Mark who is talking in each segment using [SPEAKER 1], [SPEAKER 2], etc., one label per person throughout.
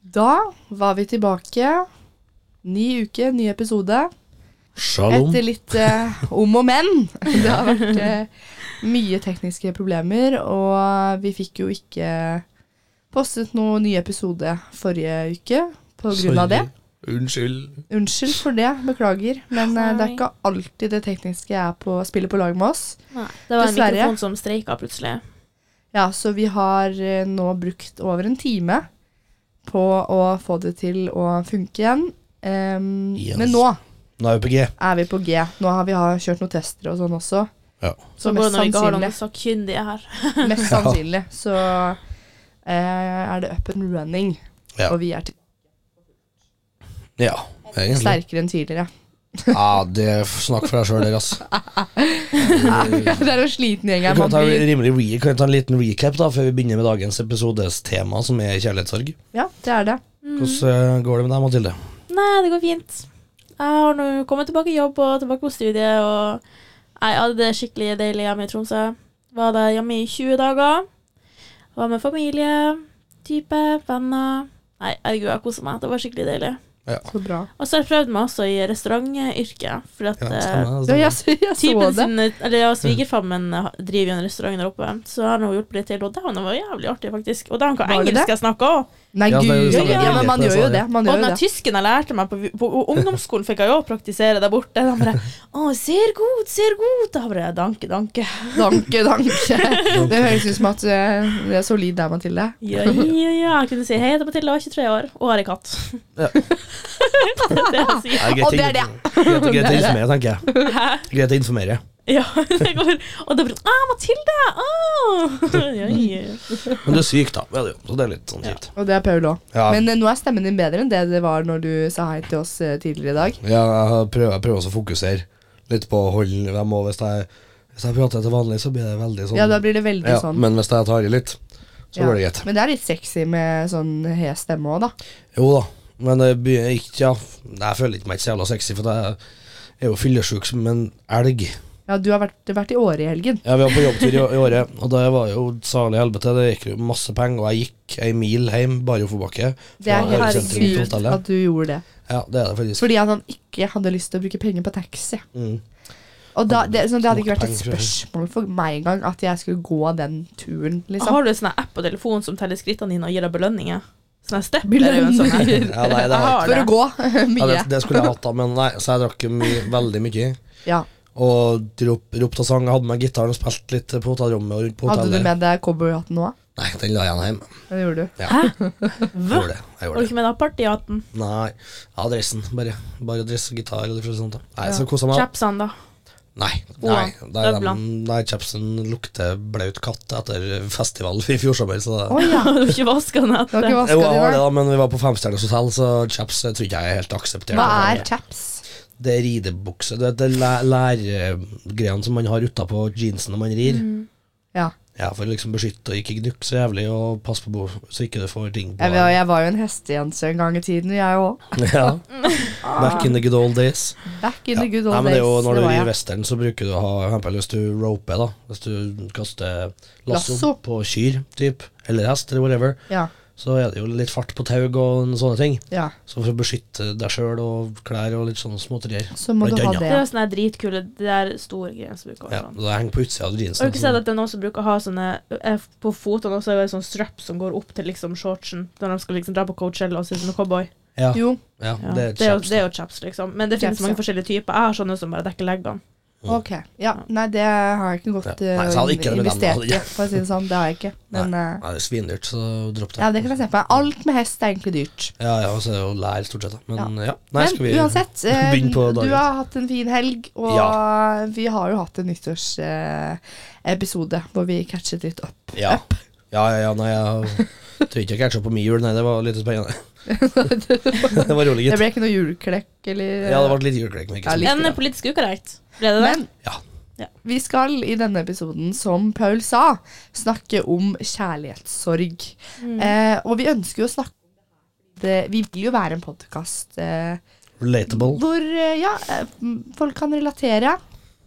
[SPEAKER 1] Da var vi tilbake. Ny uke, ny episode.
[SPEAKER 2] Shalom.
[SPEAKER 1] Etter litt eh, om og men. Det har vært eh, mye tekniske problemer, og vi fikk jo ikke postet noen ny episode forrige uke på grunn av det.
[SPEAKER 2] Unnskyld.
[SPEAKER 1] Unnskyld for det, beklager. Men eh, det er
[SPEAKER 3] Nei.
[SPEAKER 1] ikke alltid det tekniske er på spillet på lag med oss.
[SPEAKER 3] Nei, det var
[SPEAKER 1] Dessverre.
[SPEAKER 3] en mikrofon som streika plutselig.
[SPEAKER 1] Ja, så vi har eh, nå brukt over en time på å få det til å funke igjen. Ehm,
[SPEAKER 2] Yes.
[SPEAKER 1] Men nå
[SPEAKER 2] Nå er vi på G.
[SPEAKER 1] er vi på G. Nå har vi ha, kjørt noen tester og sånn også.
[SPEAKER 2] Ja.
[SPEAKER 3] Så
[SPEAKER 1] Så
[SPEAKER 3] går
[SPEAKER 1] mest
[SPEAKER 3] det når vi ikke har
[SPEAKER 1] sannsynlig,
[SPEAKER 3] noen sakkyndige her.
[SPEAKER 1] mest
[SPEAKER 2] Ja.
[SPEAKER 1] sannsynlig så eh, er det up and running.
[SPEAKER 2] Ja.
[SPEAKER 1] Og vi er til-
[SPEAKER 2] Ja, egentlig.
[SPEAKER 1] sterkere enn tidligere.
[SPEAKER 2] Ja, det er f- Snakk for deg sjøl, dere, ass.
[SPEAKER 1] det er en sliten gjeng
[SPEAKER 2] Vi
[SPEAKER 1] her.
[SPEAKER 2] kan
[SPEAKER 1] Man
[SPEAKER 2] ta,
[SPEAKER 1] blir,
[SPEAKER 2] rimelig re kan vi ta en liten recap da før vi begynner med dagens episodes tema, som er kjærlighetssorg.
[SPEAKER 1] ja, det er det.
[SPEAKER 2] Hvordan eh, går det med deg, Mathilde?
[SPEAKER 3] Nei, det går fint. Jeg har nå kommet tilbake i jobb og tilbake på studiet. Og jeg hadde det skikkelig deilig hjemme i Tromsø. Var der hjemme i 20 dager. Var med familie, type, venner. Nei, herregud, jeg koser meg. Det var skikkelig deilig.
[SPEAKER 1] Så bra.
[SPEAKER 3] Og så har jeg prøvd meg også i restaurantyrket. For at
[SPEAKER 2] Ja,
[SPEAKER 3] eh,
[SPEAKER 2] stemmer,
[SPEAKER 1] Ja, jeg, så-
[SPEAKER 2] stemmer.
[SPEAKER 1] jeg så
[SPEAKER 3] Typen
[SPEAKER 1] det.
[SPEAKER 3] sin, eller ja, svigerfammen ha- driver jo en restaurant der oppe, så har hun hjulpet litt til, og det var noe jævlig artig, faktisk. Og da har hun
[SPEAKER 1] Var det
[SPEAKER 3] engelsk jeg snakker òg.
[SPEAKER 1] Nei,
[SPEAKER 2] Ja, det er jo sånn altså.
[SPEAKER 1] gud. Ja,
[SPEAKER 2] samme
[SPEAKER 1] ja, men man
[SPEAKER 2] dialekt,
[SPEAKER 1] gjør jo
[SPEAKER 2] det,
[SPEAKER 1] det. Man
[SPEAKER 3] Og
[SPEAKER 1] gjør
[SPEAKER 3] den
[SPEAKER 1] jo
[SPEAKER 3] her
[SPEAKER 1] det.
[SPEAKER 3] tysken jeg lærte meg på, på ungdomsskolen, fikk jeg jo praktisere der borte. De bare 'Å, ser god, ser god'. Da bare Danke, danke.
[SPEAKER 1] Danke, danke. Det høres ut som at eh, det er solid der, Mathilde.
[SPEAKER 3] Ja, ja, ja. Jeg kunne si 'Hei, det er Mathilde, jeg er 23 år og har ei katt'.
[SPEAKER 2] Ja.
[SPEAKER 3] det er det jeg sier.
[SPEAKER 2] Nei, greit
[SPEAKER 1] Og det er
[SPEAKER 2] å- Greit, greit å informere, tenker jeg.
[SPEAKER 3] Hæ?
[SPEAKER 2] Greit å informere.
[SPEAKER 3] Ja, det går. Og da bare 'Å, Mathilde!' Å! Ja, ja, ja.
[SPEAKER 2] Men du er syk, da. Ja, det er jo- Så det er litt sånn kjipt.
[SPEAKER 1] Og det er Paul òg.
[SPEAKER 2] Ja.
[SPEAKER 1] Men eh, nå er stemmen din bedre enn det det var når du sa hei til oss eh, tidligere i dag.
[SPEAKER 2] Ja, jeg har prøver, jeg prøver også å fokusere litt på å holde dem og hvis jeg, hvis jeg prater til vanlig, så blir det veldig sånn
[SPEAKER 1] Ja, da blir det veldig
[SPEAKER 2] Ja,
[SPEAKER 1] sånn.
[SPEAKER 2] Men hvis jeg tar i litt, så
[SPEAKER 1] Ja.
[SPEAKER 2] går det greit.
[SPEAKER 1] Men det er litt sexy med sånn hes stemme òg, da.
[SPEAKER 2] Jo da, men det blir ikke ja. Nei, Jeg føler ikke meg ikke så jævla sexy, for jeg er jo fyllesyk som en elg.
[SPEAKER 1] Ja, du har vært, vært i Åre i helgen.
[SPEAKER 2] Ja, Vi var på jobbtur i, i året, og det var jo salig helvete. Det gikk jo masse penger, og jeg gikk ei mil hjem bare oppoverbakke.
[SPEAKER 1] Det er
[SPEAKER 2] fra
[SPEAKER 1] helt
[SPEAKER 2] Åre sentrum til
[SPEAKER 1] sykt
[SPEAKER 2] hotellet.
[SPEAKER 1] at du gjorde det.
[SPEAKER 2] Ja, det er det faktisk.
[SPEAKER 1] Fordi at han ikke hadde lyst til å bruke penger på taxi.
[SPEAKER 2] Mm.
[SPEAKER 1] Og da, det, sånn, det hadde ikke vært et
[SPEAKER 2] Penger, tror jeg.
[SPEAKER 1] spørsmål for meg engang at jeg skulle gå den turen, liksom.
[SPEAKER 3] Har du en sånn app på telefonen som teller skrittene dine og gir deg belønninger? Sånn step
[SPEAKER 1] Belønninger.
[SPEAKER 2] Ja, nei, det har
[SPEAKER 1] For
[SPEAKER 2] jeg
[SPEAKER 1] å gå
[SPEAKER 2] Ja, det,
[SPEAKER 1] mye.
[SPEAKER 2] det skulle jeg hatt, da, men nei, så jeg drakk jo mye, veldig mye.
[SPEAKER 1] Ja.
[SPEAKER 2] Og rop, ropte og sang. Jeg hadde med gitaren og spilte litt på hotellrommet. og rundt på
[SPEAKER 1] Hadde du
[SPEAKER 2] hotellet.
[SPEAKER 1] med deg cowboyhatten nå?
[SPEAKER 2] Nei, den la jeg igjen hjemme.
[SPEAKER 1] Det gjorde du.
[SPEAKER 2] Jeg gjorde det. Jeg gjorde
[SPEAKER 3] Og
[SPEAKER 2] det.
[SPEAKER 3] ikke med deg partyhatten.
[SPEAKER 2] Nei, ja, dressen. Bare, bare dress og gitar. Eller for sånt, da. Nei,
[SPEAKER 1] Ja.
[SPEAKER 2] så kosa meg.
[SPEAKER 3] Chapsene, da.
[SPEAKER 2] Nei,
[SPEAKER 3] Oa,
[SPEAKER 2] nei, nei,
[SPEAKER 3] Døbla.
[SPEAKER 2] dem, nei, chapsen lukter blaut katt etter festival i fjor sommer. Så det.
[SPEAKER 1] Å ja.
[SPEAKER 3] Du har ikke vaska
[SPEAKER 1] Du
[SPEAKER 3] den
[SPEAKER 1] har
[SPEAKER 3] etter.
[SPEAKER 1] ikke
[SPEAKER 2] Jo,
[SPEAKER 1] vaska
[SPEAKER 2] jeg har det,
[SPEAKER 1] dine?
[SPEAKER 2] da, men vi var på femstjerners hotell, så chaps jeg tror ikke jeg er helt akseptert.
[SPEAKER 1] Hva er chaps?
[SPEAKER 2] Det er ridebukse. Du vet, det er læ- lærgreiene som man har utapå jeansen når man rir.
[SPEAKER 1] Mm.
[SPEAKER 3] Mm.
[SPEAKER 1] Ja.
[SPEAKER 2] Ja, For å liksom beskytte og ikke gnukke så jævlig, og passe på bo, så ikke du får ting på
[SPEAKER 1] Jeg, var- jeg var jo en hestejente en gang i tiden, jeg òg.
[SPEAKER 2] Ja. Back in the good old days.
[SPEAKER 1] Back in the good
[SPEAKER 2] Nei,
[SPEAKER 1] old
[SPEAKER 2] men det er jo
[SPEAKER 1] days.
[SPEAKER 2] Når du
[SPEAKER 1] det var
[SPEAKER 2] rir
[SPEAKER 1] jeg.
[SPEAKER 2] western, så bruker du å ha for eksempel, Hvis du roper, da Hvis du kaster lasso,
[SPEAKER 1] Lasso.
[SPEAKER 2] på kyr, typ eller hest, eller whatever,
[SPEAKER 1] Ja,
[SPEAKER 2] så er det jo litt fart på tau og sånne ting.
[SPEAKER 1] ja.
[SPEAKER 2] Så for å beskytte deg sjøl og klær og litt sånne småterier.
[SPEAKER 1] Så må
[SPEAKER 2] Blant
[SPEAKER 1] du ha
[SPEAKER 2] annet.
[SPEAKER 3] Det er
[SPEAKER 1] det.
[SPEAKER 3] jo sånne her dritkule, det der store greiene som bruker å
[SPEAKER 2] Ja,
[SPEAKER 3] ha sånn.
[SPEAKER 2] det henger på utsida av jeansen.
[SPEAKER 3] Har du ikke sett
[SPEAKER 2] sånn.
[SPEAKER 3] at det er noen som bruker å ha sånne eh, på fotene, og så er det sånn strap som går opp til liksom shortsen, når de skal liksom dra på Coachella og se ut som en cowboy?
[SPEAKER 2] Ja,
[SPEAKER 1] Jo,
[SPEAKER 2] ja,
[SPEAKER 3] Ja.
[SPEAKER 2] det er
[SPEAKER 3] Det er jo-
[SPEAKER 2] kjapt.
[SPEAKER 3] det er jo chaps, liksom. Men det finnes
[SPEAKER 1] Chaps,
[SPEAKER 3] mange
[SPEAKER 1] ja.
[SPEAKER 3] forskjellige typer. Jeg har sånne som bare dekker leggene.
[SPEAKER 1] ok. Ja, nei, det har jeg ikke gått
[SPEAKER 2] Mm. Ja. Nei, så hadde
[SPEAKER 1] eh,
[SPEAKER 2] ikke det med dem,
[SPEAKER 1] investert i,
[SPEAKER 2] hadde jeg.
[SPEAKER 1] for å si det sånn. Det har jeg ikke. Men eh,
[SPEAKER 2] Nei, det er svindyrt, så dropp det.
[SPEAKER 1] ja, det kan jeg se på. Alt med hest er egentlig dyrt.
[SPEAKER 2] Ja, ja, og så er det jo lær, stort sett. da. Men ja. Nei,
[SPEAKER 1] Men
[SPEAKER 2] skal vi
[SPEAKER 1] uansett, eh,
[SPEAKER 2] begynne på
[SPEAKER 1] du
[SPEAKER 2] dagens?
[SPEAKER 1] har hatt en fin helg, og vi har jo hatt en nyttårsepisode hvor vi catchet litt opp.
[SPEAKER 2] Ja. Ja, ja, ja, nei, jeg tør ikke catche opp på min jul, nei, det var litt spennende. det var rolig,
[SPEAKER 1] Det
[SPEAKER 2] gitt.
[SPEAKER 1] ble ikke noe julekrekk eller
[SPEAKER 2] Ja, det ble litt juleklekk,
[SPEAKER 1] Ja,
[SPEAKER 2] men ikke
[SPEAKER 1] litt.
[SPEAKER 2] så
[SPEAKER 3] En
[SPEAKER 1] det.
[SPEAKER 3] politisk ukorrekt. Ble det det?
[SPEAKER 1] Men
[SPEAKER 2] Ja.
[SPEAKER 3] Ja.
[SPEAKER 1] vi skal i denne episoden, som Paul sa, snakke om kjærlighetssorg.
[SPEAKER 2] Mm.
[SPEAKER 3] Mm.
[SPEAKER 1] Eh, og vi ønsker jo å snakke om det her, fordi det- Vi vil jo være en podkast eh,
[SPEAKER 2] relatable.
[SPEAKER 1] hvor eh, ja, eh, m- folk kan relatere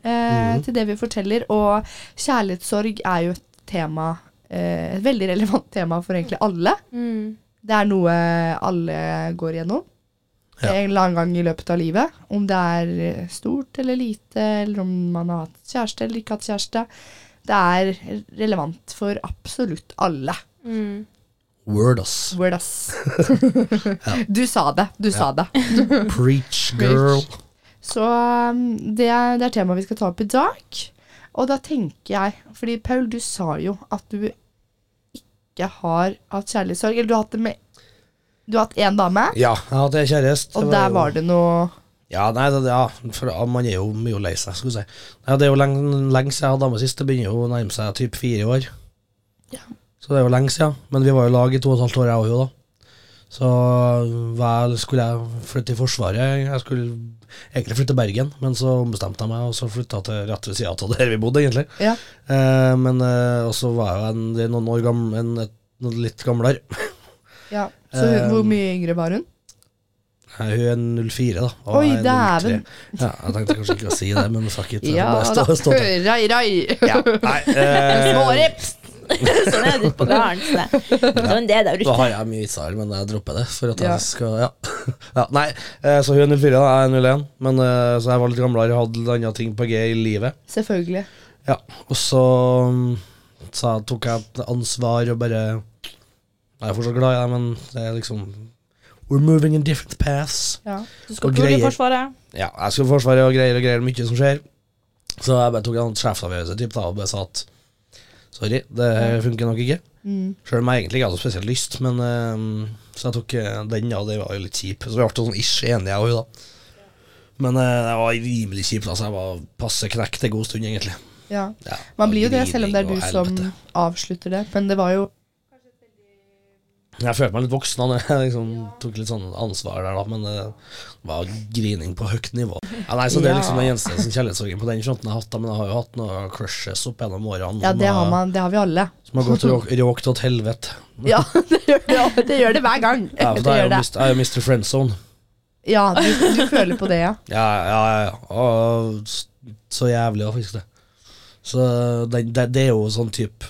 [SPEAKER 1] eh,
[SPEAKER 2] Mhm.
[SPEAKER 1] til det vi forteller. Og
[SPEAKER 3] Mm.
[SPEAKER 1] kjærlighetssorg er jo et tema eh, Et veldig relevant tema for egentlig alle. Det er noe alle går gjennom.
[SPEAKER 2] Ja.
[SPEAKER 1] En eller annen gang i løpet av livet. Om det er stort eller lite, eller om man har hatt kjæreste eller ikke hatt kjæreste. Det er relevant for absolutt alle.
[SPEAKER 3] Mm.
[SPEAKER 2] Word, ass.
[SPEAKER 1] Word, ass. Du sa det. Du sa det.
[SPEAKER 2] Preach, girl.
[SPEAKER 1] Så um, det, er- det er temaet vi skal ta opp i dag. Og da tenker jeg Fordi Paul, du sa jo at du ikke har hatt kjærlighetssorg. Eller du har hatt det med Du har hatt én dame,
[SPEAKER 2] Ja, jeg har hatt ei kjæreste.
[SPEAKER 1] og der var det noe
[SPEAKER 2] Ja, nei, det, ja, for ja, man er jo mye lei seg, skulle jeg si. Nei, det er jo lenge, lenge siden jeg hadde dame sist. Det begynner jo å nærme seg typ fire år. Så det er jo lenge siden. Men vi var jo i lag i to og et halvt år, jeg òg, jo, da. Så vel skulle jeg flytte til Forsvaret. Jeg skulle egentlig flytte til Bergen, men så ombestemte jeg meg, og så flytta jeg til rett ved sida av der vi bodde, egentlig.
[SPEAKER 1] Ja.
[SPEAKER 2] Eh, men eh, også var jeg jo en, det er noen år gammel, en, et, noe litt gamlere.
[SPEAKER 1] ja. Så hun-
[SPEAKER 2] Um,
[SPEAKER 1] hvor mye yngre var hun?
[SPEAKER 2] Nei, Hun er 04, da. og
[SPEAKER 1] Oi,
[SPEAKER 2] jeg er 03.
[SPEAKER 1] dæven.
[SPEAKER 2] Ja, jeg tenkte kanskje ikke å si det, men fuck it. jeg får
[SPEAKER 1] Ja
[SPEAKER 2] bare
[SPEAKER 1] da.
[SPEAKER 2] stå, stå til.
[SPEAKER 1] Rai, rai.
[SPEAKER 2] Ja, nei, eh,
[SPEAKER 1] Smårips!
[SPEAKER 3] sånn er det ute på gården. så det- Sånn det er det
[SPEAKER 2] da
[SPEAKER 3] ute.
[SPEAKER 2] har jeg mye vitser, men jeg dropper det. For at
[SPEAKER 1] Ja.
[SPEAKER 2] jeg skal, ja. ja Nei, eh, så hun er 04, da, jeg er 01. Men, eh, så jeg var litt gamlere, hadde litt andre ting på G i livet.
[SPEAKER 1] Selvfølgelig.
[SPEAKER 2] Ja, og så, mm, så jeg tok jeg et ansvar og bare Jeg er fortsatt glad i deg, men det er liksom We're moving in different paths.
[SPEAKER 1] Ja.
[SPEAKER 3] Du skal
[SPEAKER 2] Og
[SPEAKER 3] ikke i
[SPEAKER 2] greier.
[SPEAKER 3] Forsvaret.
[SPEAKER 2] ja, jeg skulle forsvare og greier og greier, mye som skjer. Så jeg bare tok en sjefsavgjørelse typ, da, og bare sa at sorry, det her funker nok ikke.
[SPEAKER 1] Mm.
[SPEAKER 2] Selv om jeg egentlig ikke hadde spesielt lyst, men eh, så jeg tok eh, den, ja, det var jo litt kjip. Så vi ble sånn ish enige, jeg og hun, da. Men eh, det var rimelig kjipt, altså. Jeg var passe knekt en god stund, egentlig.
[SPEAKER 1] ja.
[SPEAKER 2] Ja,
[SPEAKER 1] Man blir jo det, selv om det er du
[SPEAKER 2] grining og
[SPEAKER 1] som
[SPEAKER 2] helvete.
[SPEAKER 1] avslutter det. Men det var jo
[SPEAKER 2] Jeg følte meg litt voksen da jeg liksom tok litt sånn ansvar der, da, men det var grining på høyt nivå. Ja, nei, så Det er
[SPEAKER 1] Ja.
[SPEAKER 2] liksom den eneste som kjærlighetssorgen på den fronten jeg har hatt, da, men jeg har jo hatt noen crushes opp gjennom årene
[SPEAKER 1] Ja,
[SPEAKER 2] som
[SPEAKER 1] det har,
[SPEAKER 2] har-
[SPEAKER 1] man, det har vi alle.
[SPEAKER 2] som har gått råk- råkt til helvete.
[SPEAKER 1] Ja, det gjør det, det, gjør det hver gang.
[SPEAKER 2] Ja, for
[SPEAKER 1] det
[SPEAKER 2] da er jeg
[SPEAKER 1] gjør
[SPEAKER 2] jo
[SPEAKER 1] det.
[SPEAKER 2] mist- jeg er jo Mr. Friendzone.
[SPEAKER 1] Ja, du, du føler på det, ja.
[SPEAKER 2] Ja, ja, ja. ja. Og s- så jævlig å fiske det. Så det, det, det er jo sånn type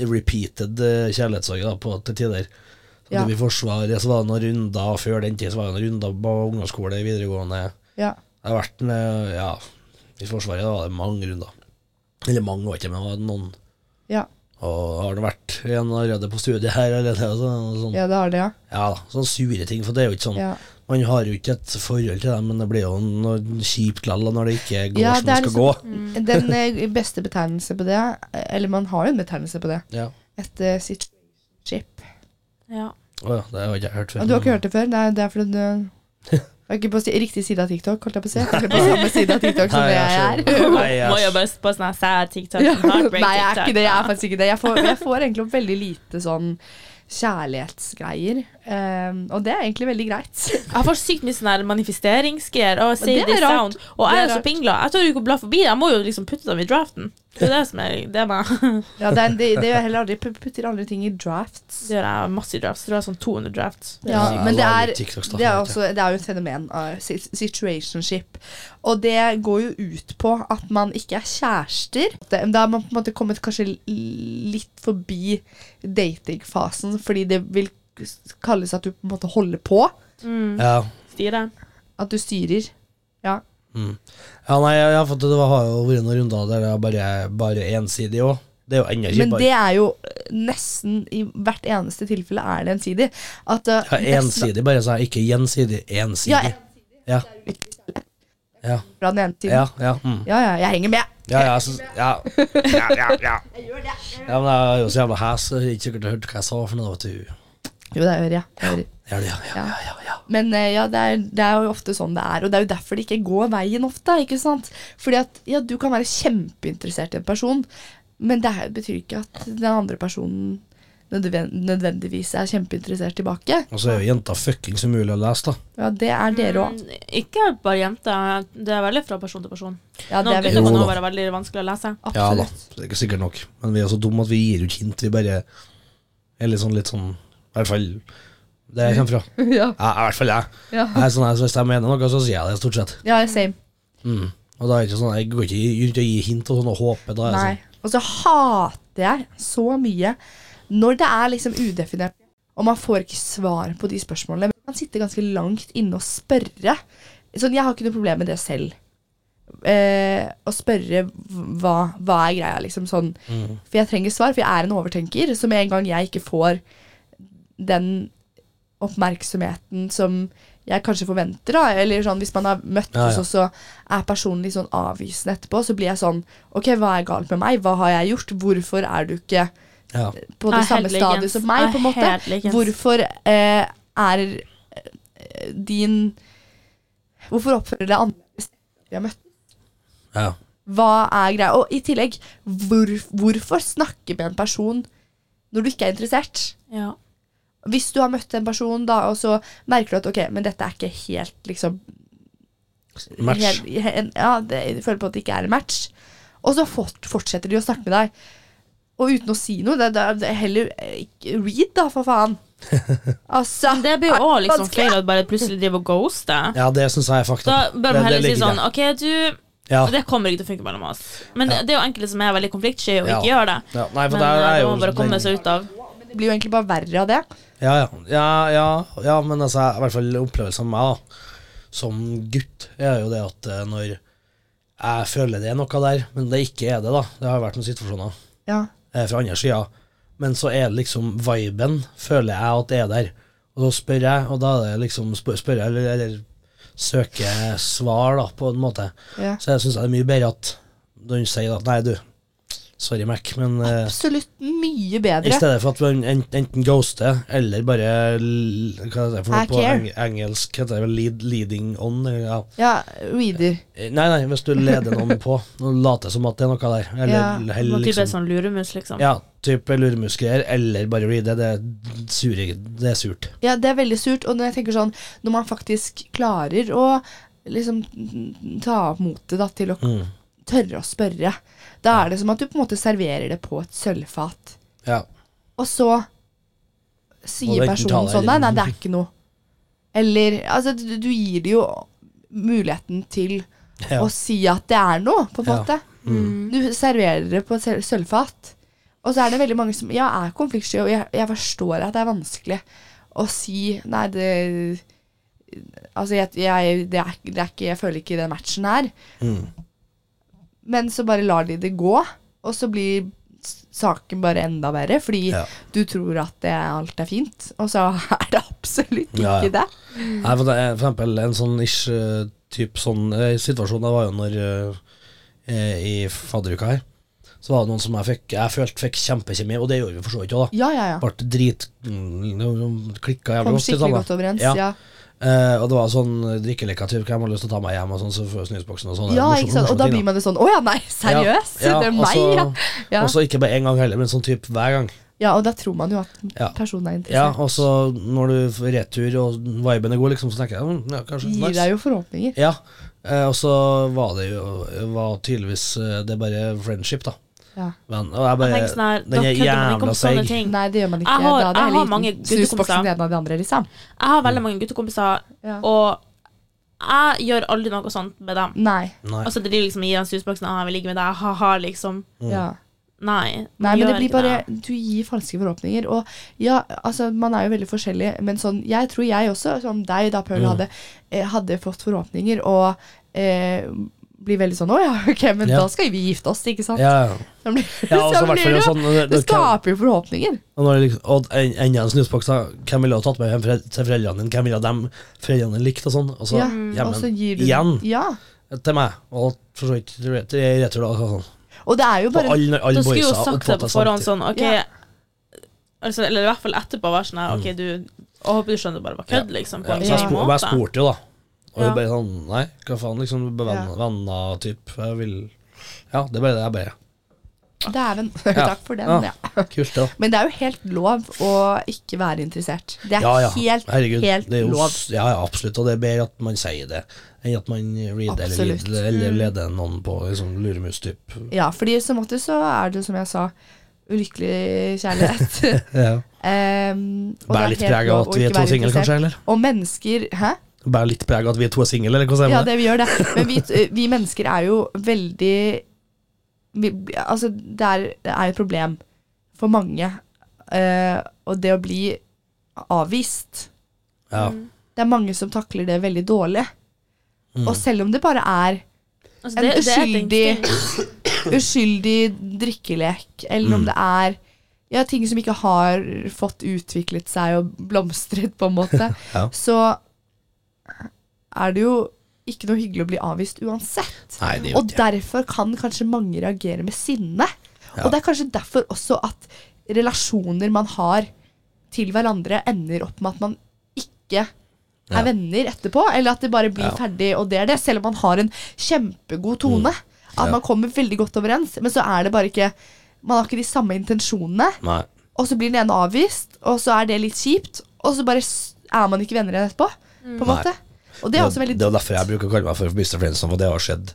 [SPEAKER 2] repeated eh, kjærlighetssorg da, på til tider. Så
[SPEAKER 1] Ja.
[SPEAKER 2] Det vi forsvarer, så var det noen runder før den tid, så var det noen runder på ungdomsskole, videregående.
[SPEAKER 1] ja.
[SPEAKER 2] Jeg har vært med, ja, i Forsvaret da var det mange runder. Eller mange var ikke, men det var noen.
[SPEAKER 1] Ja,
[SPEAKER 2] Og har det vært en allerede på studiet her, eller det, og sånn, og sånn. Ja.
[SPEAKER 1] ja det har det, ja.
[SPEAKER 2] da, sånne sure ting, for det er jo ikke sånn,
[SPEAKER 1] Ja,
[SPEAKER 2] man har jo ikke et forhold til dem, men det blir jo noe kjipt lall, og når det ikke går
[SPEAKER 1] Ja,
[SPEAKER 2] som
[SPEAKER 1] det
[SPEAKER 2] det
[SPEAKER 1] er
[SPEAKER 2] skal
[SPEAKER 1] liksom-
[SPEAKER 2] gå.
[SPEAKER 1] Den eh, beste betegnelse på det, eller man har jo en betegnelse på det,
[SPEAKER 2] Ja.
[SPEAKER 1] et eh, situationship.
[SPEAKER 3] Ja.
[SPEAKER 2] Å ja, det har ikke jeg hørt før.
[SPEAKER 1] Og du har ikke hørt det før? Nei, det er fordi du du er ikke på si- riktig side av TikTok, holdt jeg på å si. Eller på samme side av TikTok som
[SPEAKER 2] Nei,
[SPEAKER 1] det jeg
[SPEAKER 2] jeg
[SPEAKER 1] er.
[SPEAKER 2] skjønner. Nei,
[SPEAKER 3] Må
[SPEAKER 2] jeg,
[SPEAKER 3] jobbe på sånn her sad TikTok.
[SPEAKER 1] Ja.
[SPEAKER 3] heartbreak
[SPEAKER 1] Nei, jeg er
[SPEAKER 3] TikTok.
[SPEAKER 1] ikke det. Jeg er faktisk ikke det. Jeg får, jeg får egentlig opp veldig lite sånn kjærlighetsgreier. Ehm, og det er egentlig veldig greit.
[SPEAKER 3] Jeg får sykt mye sånn her manifesteringsgreier. Og say
[SPEAKER 1] det er
[SPEAKER 3] this
[SPEAKER 1] rart.
[SPEAKER 3] down. Og jeg
[SPEAKER 1] Det er
[SPEAKER 3] er så
[SPEAKER 1] rart.
[SPEAKER 3] pingla. Jeg tør jo ikke å bla forbi det. Jeg må jo liksom putte dem i draften. Det er det som er det er meg.
[SPEAKER 1] Ja, det, er- det, det gjør jeg heller aldri. Pu- Putter aldri ting i drafts.
[SPEAKER 3] Det gjør jeg masse i drafts. Jeg tror jeg har sånn 200 drafts. Det er
[SPEAKER 1] Ja,
[SPEAKER 3] sykt.
[SPEAKER 1] men det
[SPEAKER 2] lager
[SPEAKER 1] er,
[SPEAKER 2] TikToks da,
[SPEAKER 1] det, er
[SPEAKER 2] vet
[SPEAKER 1] også, det er jo et fenomen av si- situationship. Og det går jo ut på at man ikke er kjærester. Det- Da har man på en måte kommet kanskje l- litt forbi datingfasen, fordi det vil kalles at du på en måte holder på.
[SPEAKER 3] Mm,
[SPEAKER 2] ja.
[SPEAKER 3] styre.
[SPEAKER 1] At du styrer. Ja.
[SPEAKER 2] Mm. ja, nei, jeg, jeg har fått det, det har jo vært noen runder der det er bare, bare ensidig òg. Det er jo enda
[SPEAKER 1] Men
[SPEAKER 2] kjipere.
[SPEAKER 1] det er jo nesten I hvert eneste tilfelle er det ensidig. At, uh,
[SPEAKER 2] Ja,
[SPEAKER 1] nesten-
[SPEAKER 2] ensidig, bare sa jeg. Ikke gjensidig. Ensidig.
[SPEAKER 1] Ja,
[SPEAKER 2] Ja, ja,
[SPEAKER 1] fra den ene siden.
[SPEAKER 2] ja.
[SPEAKER 1] Ja.
[SPEAKER 2] ja, mm.
[SPEAKER 1] ja, jeg henger med.
[SPEAKER 2] ja, ja, så, ja. ja, ja, ja. ja men jeg er jo så jævla hes, så det er ikke sikkert du hørte hva jeg sa for noe. Vet du.
[SPEAKER 1] Jo, det hører jeg. Det hører jeg.
[SPEAKER 2] Ja, ja, ja, ja, ja, ja.
[SPEAKER 1] Men eh, ja, det er, det er jo ofte sånn det er, og det er jo derfor det ikke går veien ofte. ikke sant? Fordi at ja, du kan være kjempeinteressert i en person, men det er- betyr ikke at den andre personen nødven- nødvendigvis er kjempeinteressert tilbake.
[SPEAKER 2] Og så er jo jenta fuckings umulig å lese, da.
[SPEAKER 1] Ja, det er dere òg.
[SPEAKER 3] Mm, Ikke bare jenter. Det er veldig fra person til person.
[SPEAKER 1] Ja, det
[SPEAKER 3] Noen
[SPEAKER 1] er veldig
[SPEAKER 3] gutter
[SPEAKER 2] Jo
[SPEAKER 3] kan
[SPEAKER 2] da.
[SPEAKER 3] også være veldig vanskelig å lese.
[SPEAKER 2] Ja da,
[SPEAKER 1] absolutt.
[SPEAKER 2] det er ikke sikkert nok. Men vi er så dumme at vi gir jo ikke hint. Vi bare er litt sånn, litt sånn I hvert fall der jeg kommer fra.
[SPEAKER 1] Ja,
[SPEAKER 2] Ja, i hvert fall jeg.
[SPEAKER 1] ja.
[SPEAKER 2] jeg er sånn, her, så hvis jeg mener noe, så sier jeg det stort sett.
[SPEAKER 1] ja same.
[SPEAKER 2] Mm. Og da er det ikke sånn, Jeg går ikke rundt og gir hint og sånn og håper. Da er jeg
[SPEAKER 1] Nei. Og så hater jeg så mye når det er liksom udefinert Og man får ikke svar på de spørsmålene. Men man sitter ganske langt inne og spørre. Sånn, jeg har ikke noe problem med det selv. Eh, å spørre hva, hva er greia, liksom. Sånn.
[SPEAKER 2] Mm.
[SPEAKER 1] For jeg trenger svar, for jeg er en overtenker. Så med en gang jeg ikke får den oppmerksomheten som jeg kanskje forventer, da, eller sånn hvis man har møttes
[SPEAKER 2] Ja, ja.
[SPEAKER 1] og så er personen litt sånn avvisende etterpå, så blir jeg sånn OK, hva er galt med meg? Hva har jeg gjort? Hvorfor er du ikke
[SPEAKER 2] Ja.
[SPEAKER 1] på det
[SPEAKER 3] Jeg er
[SPEAKER 1] samme
[SPEAKER 3] helt likens.
[SPEAKER 1] stadiet som meg,
[SPEAKER 3] Jeg
[SPEAKER 1] på en
[SPEAKER 3] er
[SPEAKER 1] måte?
[SPEAKER 3] helt likens.
[SPEAKER 1] Hvorfor eh, er eh, din Hvorfor oppfører du deg annerledes? Vi har møtt
[SPEAKER 2] ja.
[SPEAKER 1] hva er greia? Og i tillegg, hvor, hvorfor snakke med en person når du ikke er interessert?
[SPEAKER 3] Ja.
[SPEAKER 1] Hvis du har møtt en person, da, og så merker du at ok, men dette er ikke helt liksom,
[SPEAKER 2] Match.
[SPEAKER 1] Helt, he- ja, det, jeg føler på at det ikke er en match. Og så fort, fortsetter de å snakke med deg. Og uten å si noe. Det, det, det heller eh, ikke- Read, da, for faen. Altså,
[SPEAKER 3] Men det blir jo òg liksom
[SPEAKER 1] vanskelig.
[SPEAKER 3] feil at bare plutselig driver og ghoster.
[SPEAKER 2] Ja, det syns jeg er fucked
[SPEAKER 3] Da
[SPEAKER 2] up.
[SPEAKER 3] bør
[SPEAKER 2] Det- det
[SPEAKER 3] man heller si
[SPEAKER 2] ligger
[SPEAKER 3] sånn
[SPEAKER 2] der.
[SPEAKER 3] OK, du
[SPEAKER 2] Ja.
[SPEAKER 3] Det kommer ikke til å funke mellom oss. Men
[SPEAKER 2] Ja.
[SPEAKER 3] det, det er jo enkelte som er veldig konfliktsky og
[SPEAKER 2] Ja.
[SPEAKER 3] ikke gjør det.
[SPEAKER 2] ja. Nei, for
[SPEAKER 3] Men
[SPEAKER 2] der
[SPEAKER 3] eh,
[SPEAKER 2] er
[SPEAKER 3] det
[SPEAKER 2] jo sånn
[SPEAKER 3] må man bare komme
[SPEAKER 2] den-
[SPEAKER 3] seg ut av.
[SPEAKER 1] det blir jo egentlig bare verre av det.
[SPEAKER 2] Ja, ja. ja, ja, ja men altså, i hvert fall opplevelsen av meg da, som gutt, er jo det at eh, når jeg føler det er noe der, men det ikke er det, da. Det har vært noen situasjoner
[SPEAKER 1] Ja.
[SPEAKER 2] eh, fra andre sida. Men så er det liksom viben, føler jeg at det er der. Og da spør jeg, og da er det liksom spør, spør jeg, eller, eller søker svar, da, på en måte.
[SPEAKER 1] ja.
[SPEAKER 2] Så jeg syns det er mye bedre at noen sier at nei, du, sorry, Mac, men eh,
[SPEAKER 1] Absolutt mye
[SPEAKER 2] i
[SPEAKER 1] bedre.
[SPEAKER 2] stedet for at man en- enten ghoster, eller bare l- Hva heter det for noe
[SPEAKER 1] I
[SPEAKER 2] på
[SPEAKER 1] care.
[SPEAKER 2] eng engelsk? Heter det vel lead, leading on? eller- Ja.
[SPEAKER 1] Ja, reader.
[SPEAKER 2] Eh, Nei, nei, hvis du leder noen på og later som at det er noe der. Eller
[SPEAKER 1] Ja,
[SPEAKER 2] hell,
[SPEAKER 3] Man type er
[SPEAKER 2] liksom.
[SPEAKER 3] sånn luremus, liksom.
[SPEAKER 2] Ja, type lurmusgreier, eller bare reade. Det, er sure, det er surt.
[SPEAKER 1] Ja, det er veldig surt. Og når jeg tenker sånn, når man faktisk klarer å liksom ta opp motet da, til å
[SPEAKER 2] Mm.
[SPEAKER 1] tørre å spørre, da er det som at du på en måte serverer det på et sølvfat.
[SPEAKER 2] Ja.
[SPEAKER 1] Og så
[SPEAKER 2] Må
[SPEAKER 1] sier
[SPEAKER 2] du enten ta
[SPEAKER 1] personen
[SPEAKER 2] det,
[SPEAKER 1] sånn Nei,
[SPEAKER 2] eller-
[SPEAKER 1] nei, det er ikke noe. Eller Altså, du, du gir det jo muligheten til
[SPEAKER 2] Ja.
[SPEAKER 1] å si at det er noe, på en
[SPEAKER 2] Ja.
[SPEAKER 1] måte.
[SPEAKER 3] Mm.
[SPEAKER 1] Du serverer det på et sel- sølvfat. Og så er det veldig mange som ja, er konfliktsky, og jeg, jeg forstår at det er vanskelig å si Nei, det Altså, jeg, jeg, det er, det er ikke, jeg føler ikke den matchen her.
[SPEAKER 2] Mm.
[SPEAKER 1] Men så bare lar de det gå, og så blir s- saken bare enda verre, fordi
[SPEAKER 2] Ja.
[SPEAKER 1] du tror at det, alt er fint, og så er det absolutt ikke
[SPEAKER 2] Ja, ja.
[SPEAKER 1] det.
[SPEAKER 2] Nei, for, det er, for eksempel en sånn ish eh, typ sånn eh, situasjon Det var jo når eh, eh, I fadderuka her Så var det noen som jeg fikk Jeg følte fikk kjempekjemi Og det gjorde vi for så vidt jo da
[SPEAKER 1] Ja, ja, ja.
[SPEAKER 2] Ble drit mm, Klikket jævlig
[SPEAKER 1] Kom
[SPEAKER 2] godt i
[SPEAKER 1] skikkelig
[SPEAKER 2] sammen
[SPEAKER 1] godt overens.
[SPEAKER 2] Ja.
[SPEAKER 1] Ja, ja.
[SPEAKER 2] Eh, Og det var sånn drikkelekka typ Hvem har lyst til å ta meg hjem Og sånn så får jeg snusboksen og sånn
[SPEAKER 1] ikke sant? Og da blir man det sånn Å ja, nei, seriøst? det er
[SPEAKER 2] altså,
[SPEAKER 1] meg, ja. Ja.
[SPEAKER 2] Og så ikke bare en gang heller Men sånn typ hver gang
[SPEAKER 1] ja. Og da tror man jo at
[SPEAKER 2] Ja.
[SPEAKER 1] personen er
[SPEAKER 2] Ja,
[SPEAKER 1] interessert.
[SPEAKER 2] og så når du får retur Og viben er god liksom Så tenker jeg mm, Ja, kanskje
[SPEAKER 1] Gir
[SPEAKER 2] nice.
[SPEAKER 1] deg jo forhåpninger.
[SPEAKER 2] Ja, eh, og så var det jo var tydeligvis eh, Det er bare friendship, da.
[SPEAKER 1] Ja.
[SPEAKER 2] Men, og jeg
[SPEAKER 3] Jeg
[SPEAKER 2] bare,
[SPEAKER 3] tenker sånn her,
[SPEAKER 2] eh, den
[SPEAKER 3] dere
[SPEAKER 2] er
[SPEAKER 3] kødder med
[SPEAKER 2] jævla
[SPEAKER 3] ikke om sånne
[SPEAKER 2] seig.
[SPEAKER 3] ting.
[SPEAKER 1] Nei, det gjør man ikke.
[SPEAKER 3] Mm. Jeg har-
[SPEAKER 1] da det
[SPEAKER 3] jeg
[SPEAKER 1] er
[SPEAKER 3] har
[SPEAKER 1] liten
[SPEAKER 3] mange
[SPEAKER 1] snusboksen
[SPEAKER 3] guttekompiser.
[SPEAKER 1] det ene og det andre, liksom.
[SPEAKER 3] Jeg har veldig mange guttekompiser,
[SPEAKER 1] Ja.
[SPEAKER 3] og jeg gjør aldri noe sånt med dem.
[SPEAKER 1] Nei.
[SPEAKER 2] Nei.
[SPEAKER 3] Altså, det er liksom i den susboksen ah, 'Jeg vil ligge med deg', ha-ha, liksom.
[SPEAKER 2] Mm.
[SPEAKER 1] Ja.
[SPEAKER 3] Nei.
[SPEAKER 1] Nei,
[SPEAKER 3] man
[SPEAKER 1] men det
[SPEAKER 3] gjør
[SPEAKER 1] blir
[SPEAKER 3] ikke
[SPEAKER 1] bare Du gir falske forhåpninger. Og ja, altså, man er jo veldig forskjellig, men sånn Jeg tror jeg også, som deg da, Paul, hadde, eh, hadde fått forhåpninger og eh, blir veldig sånn Å ja, ok, men
[SPEAKER 2] Ja.
[SPEAKER 1] da skal vi gifte oss, ikke sant?
[SPEAKER 2] Ja,
[SPEAKER 1] Så blir-
[SPEAKER 2] ja og
[SPEAKER 1] så
[SPEAKER 2] så i hvert
[SPEAKER 1] blir
[SPEAKER 2] fall
[SPEAKER 1] det jo-
[SPEAKER 2] sånn det-
[SPEAKER 1] det
[SPEAKER 2] det-
[SPEAKER 1] skaper jo forhåpninger.
[SPEAKER 2] Og når det liksom, og en- enda en snusboks, da. Hvem ville ha tatt med hjem forel- til foreldrene dine? Hvem ville ha dem foreldrene likt, og sånn? Og så
[SPEAKER 1] ja,
[SPEAKER 3] Mm,
[SPEAKER 2] ja,
[SPEAKER 1] Mm. og så
[SPEAKER 2] men,
[SPEAKER 1] gir du
[SPEAKER 2] igjen
[SPEAKER 1] Ja.
[SPEAKER 2] til meg, og for så vidt til re- til retur, da. og Sånn.
[SPEAKER 1] Og det er jo
[SPEAKER 2] Og
[SPEAKER 1] bare
[SPEAKER 2] alle,
[SPEAKER 3] Da
[SPEAKER 2] alle
[SPEAKER 3] skulle jo
[SPEAKER 2] boysa
[SPEAKER 3] sagt det
[SPEAKER 2] oppfatter
[SPEAKER 3] på forhånd
[SPEAKER 2] samtidig.
[SPEAKER 3] sånn, OK
[SPEAKER 1] Ja.
[SPEAKER 3] altså, Eller i hvert fall etterpå være sånn her, OK, du Jeg håper du skjønner det bare var kødd, liksom. På
[SPEAKER 2] Ja,
[SPEAKER 3] en
[SPEAKER 2] så jeg,
[SPEAKER 3] sånn
[SPEAKER 2] spor, og jeg
[SPEAKER 3] måte.
[SPEAKER 2] spurte jo, da. Og hun
[SPEAKER 3] Ja.
[SPEAKER 2] bare sånn Nei, hva faen, liksom.
[SPEAKER 1] Ja.
[SPEAKER 2] Venner, venner typ. Jeg vil Ja, det er bare det jeg bare
[SPEAKER 1] Dæven. Takk for den.
[SPEAKER 2] Ja.
[SPEAKER 1] Ja.
[SPEAKER 2] Kult, det, da.
[SPEAKER 1] Men det er jo helt lov å ikke være interessert. Det er
[SPEAKER 2] Ja, ja.
[SPEAKER 1] helt,
[SPEAKER 2] Herregud,
[SPEAKER 1] helt
[SPEAKER 2] det er jo,
[SPEAKER 1] lov.
[SPEAKER 2] s- Ja, ja, absolutt. Og det er bedre at man sier det, enn at man reader eller,
[SPEAKER 1] Absolutt. Mm.
[SPEAKER 2] lider, eller leder noen på liksom, luremus-typ.
[SPEAKER 1] Ja, fordi i så måte så er det jo, som jeg sa, ulykkelig kjærlighet.
[SPEAKER 2] Ja.
[SPEAKER 1] Em, og
[SPEAKER 2] Bærer
[SPEAKER 1] det
[SPEAKER 2] litt
[SPEAKER 1] er helt
[SPEAKER 2] preg av
[SPEAKER 1] lov
[SPEAKER 2] at
[SPEAKER 1] å
[SPEAKER 2] vi
[SPEAKER 1] ikke
[SPEAKER 2] er to
[SPEAKER 1] være
[SPEAKER 2] single,
[SPEAKER 1] interessert.
[SPEAKER 2] kanskje? eller?
[SPEAKER 1] Og mennesker Hæ?
[SPEAKER 2] Bærer litt preg av at vi er to single, eller hva sier
[SPEAKER 1] Ja,
[SPEAKER 2] man?
[SPEAKER 1] det vi gjør det. Men vi, eh, vi mennesker er jo veldig vi, Altså, det er, det er et problem for mange. eh, og det å bli avvist.
[SPEAKER 2] Ja.
[SPEAKER 3] Mm.
[SPEAKER 1] Det er mange som takler det veldig dårlig.
[SPEAKER 2] Mm.
[SPEAKER 1] Og selv om det bare er
[SPEAKER 3] Altså,
[SPEAKER 1] En
[SPEAKER 3] det, det er ting-
[SPEAKER 1] uskyldig- uskyldig drikkelek, eller om
[SPEAKER 2] Mm.
[SPEAKER 1] det er ja, ting som ikke har fått utviklet seg og blomstret, på en måte,
[SPEAKER 2] Ja.
[SPEAKER 1] så er det jo ikke noe hyggelig å bli avvist uansett.
[SPEAKER 2] Nei, det er jo
[SPEAKER 1] Og
[SPEAKER 2] ikke
[SPEAKER 1] derfor kan kanskje mange reagere med sinne.
[SPEAKER 2] Ja.
[SPEAKER 1] Og det er kanskje derfor også at relasjoner man har til hverandre, ender opp med at man ikke
[SPEAKER 2] Ja.
[SPEAKER 1] er venner etterpå. Eller at det bare blir
[SPEAKER 2] Ja.
[SPEAKER 1] ferdig, og det er det. Selv om man har en kjempegod tone. At
[SPEAKER 2] Mm. Ja.
[SPEAKER 1] man kommer veldig godt overens, men så er det bare ikke Man har ikke de samme intensjonene.
[SPEAKER 2] Nei.
[SPEAKER 1] Og så blir den ene avvist, og så er det litt kjipt. Og så bare s- er man ikke venner igjen etterpå. På en
[SPEAKER 2] Nei.
[SPEAKER 1] måte. Og det er også veldig
[SPEAKER 2] det er jo derfor jeg bruker å kalle meg for Mr. Friendsome, og det har skjedd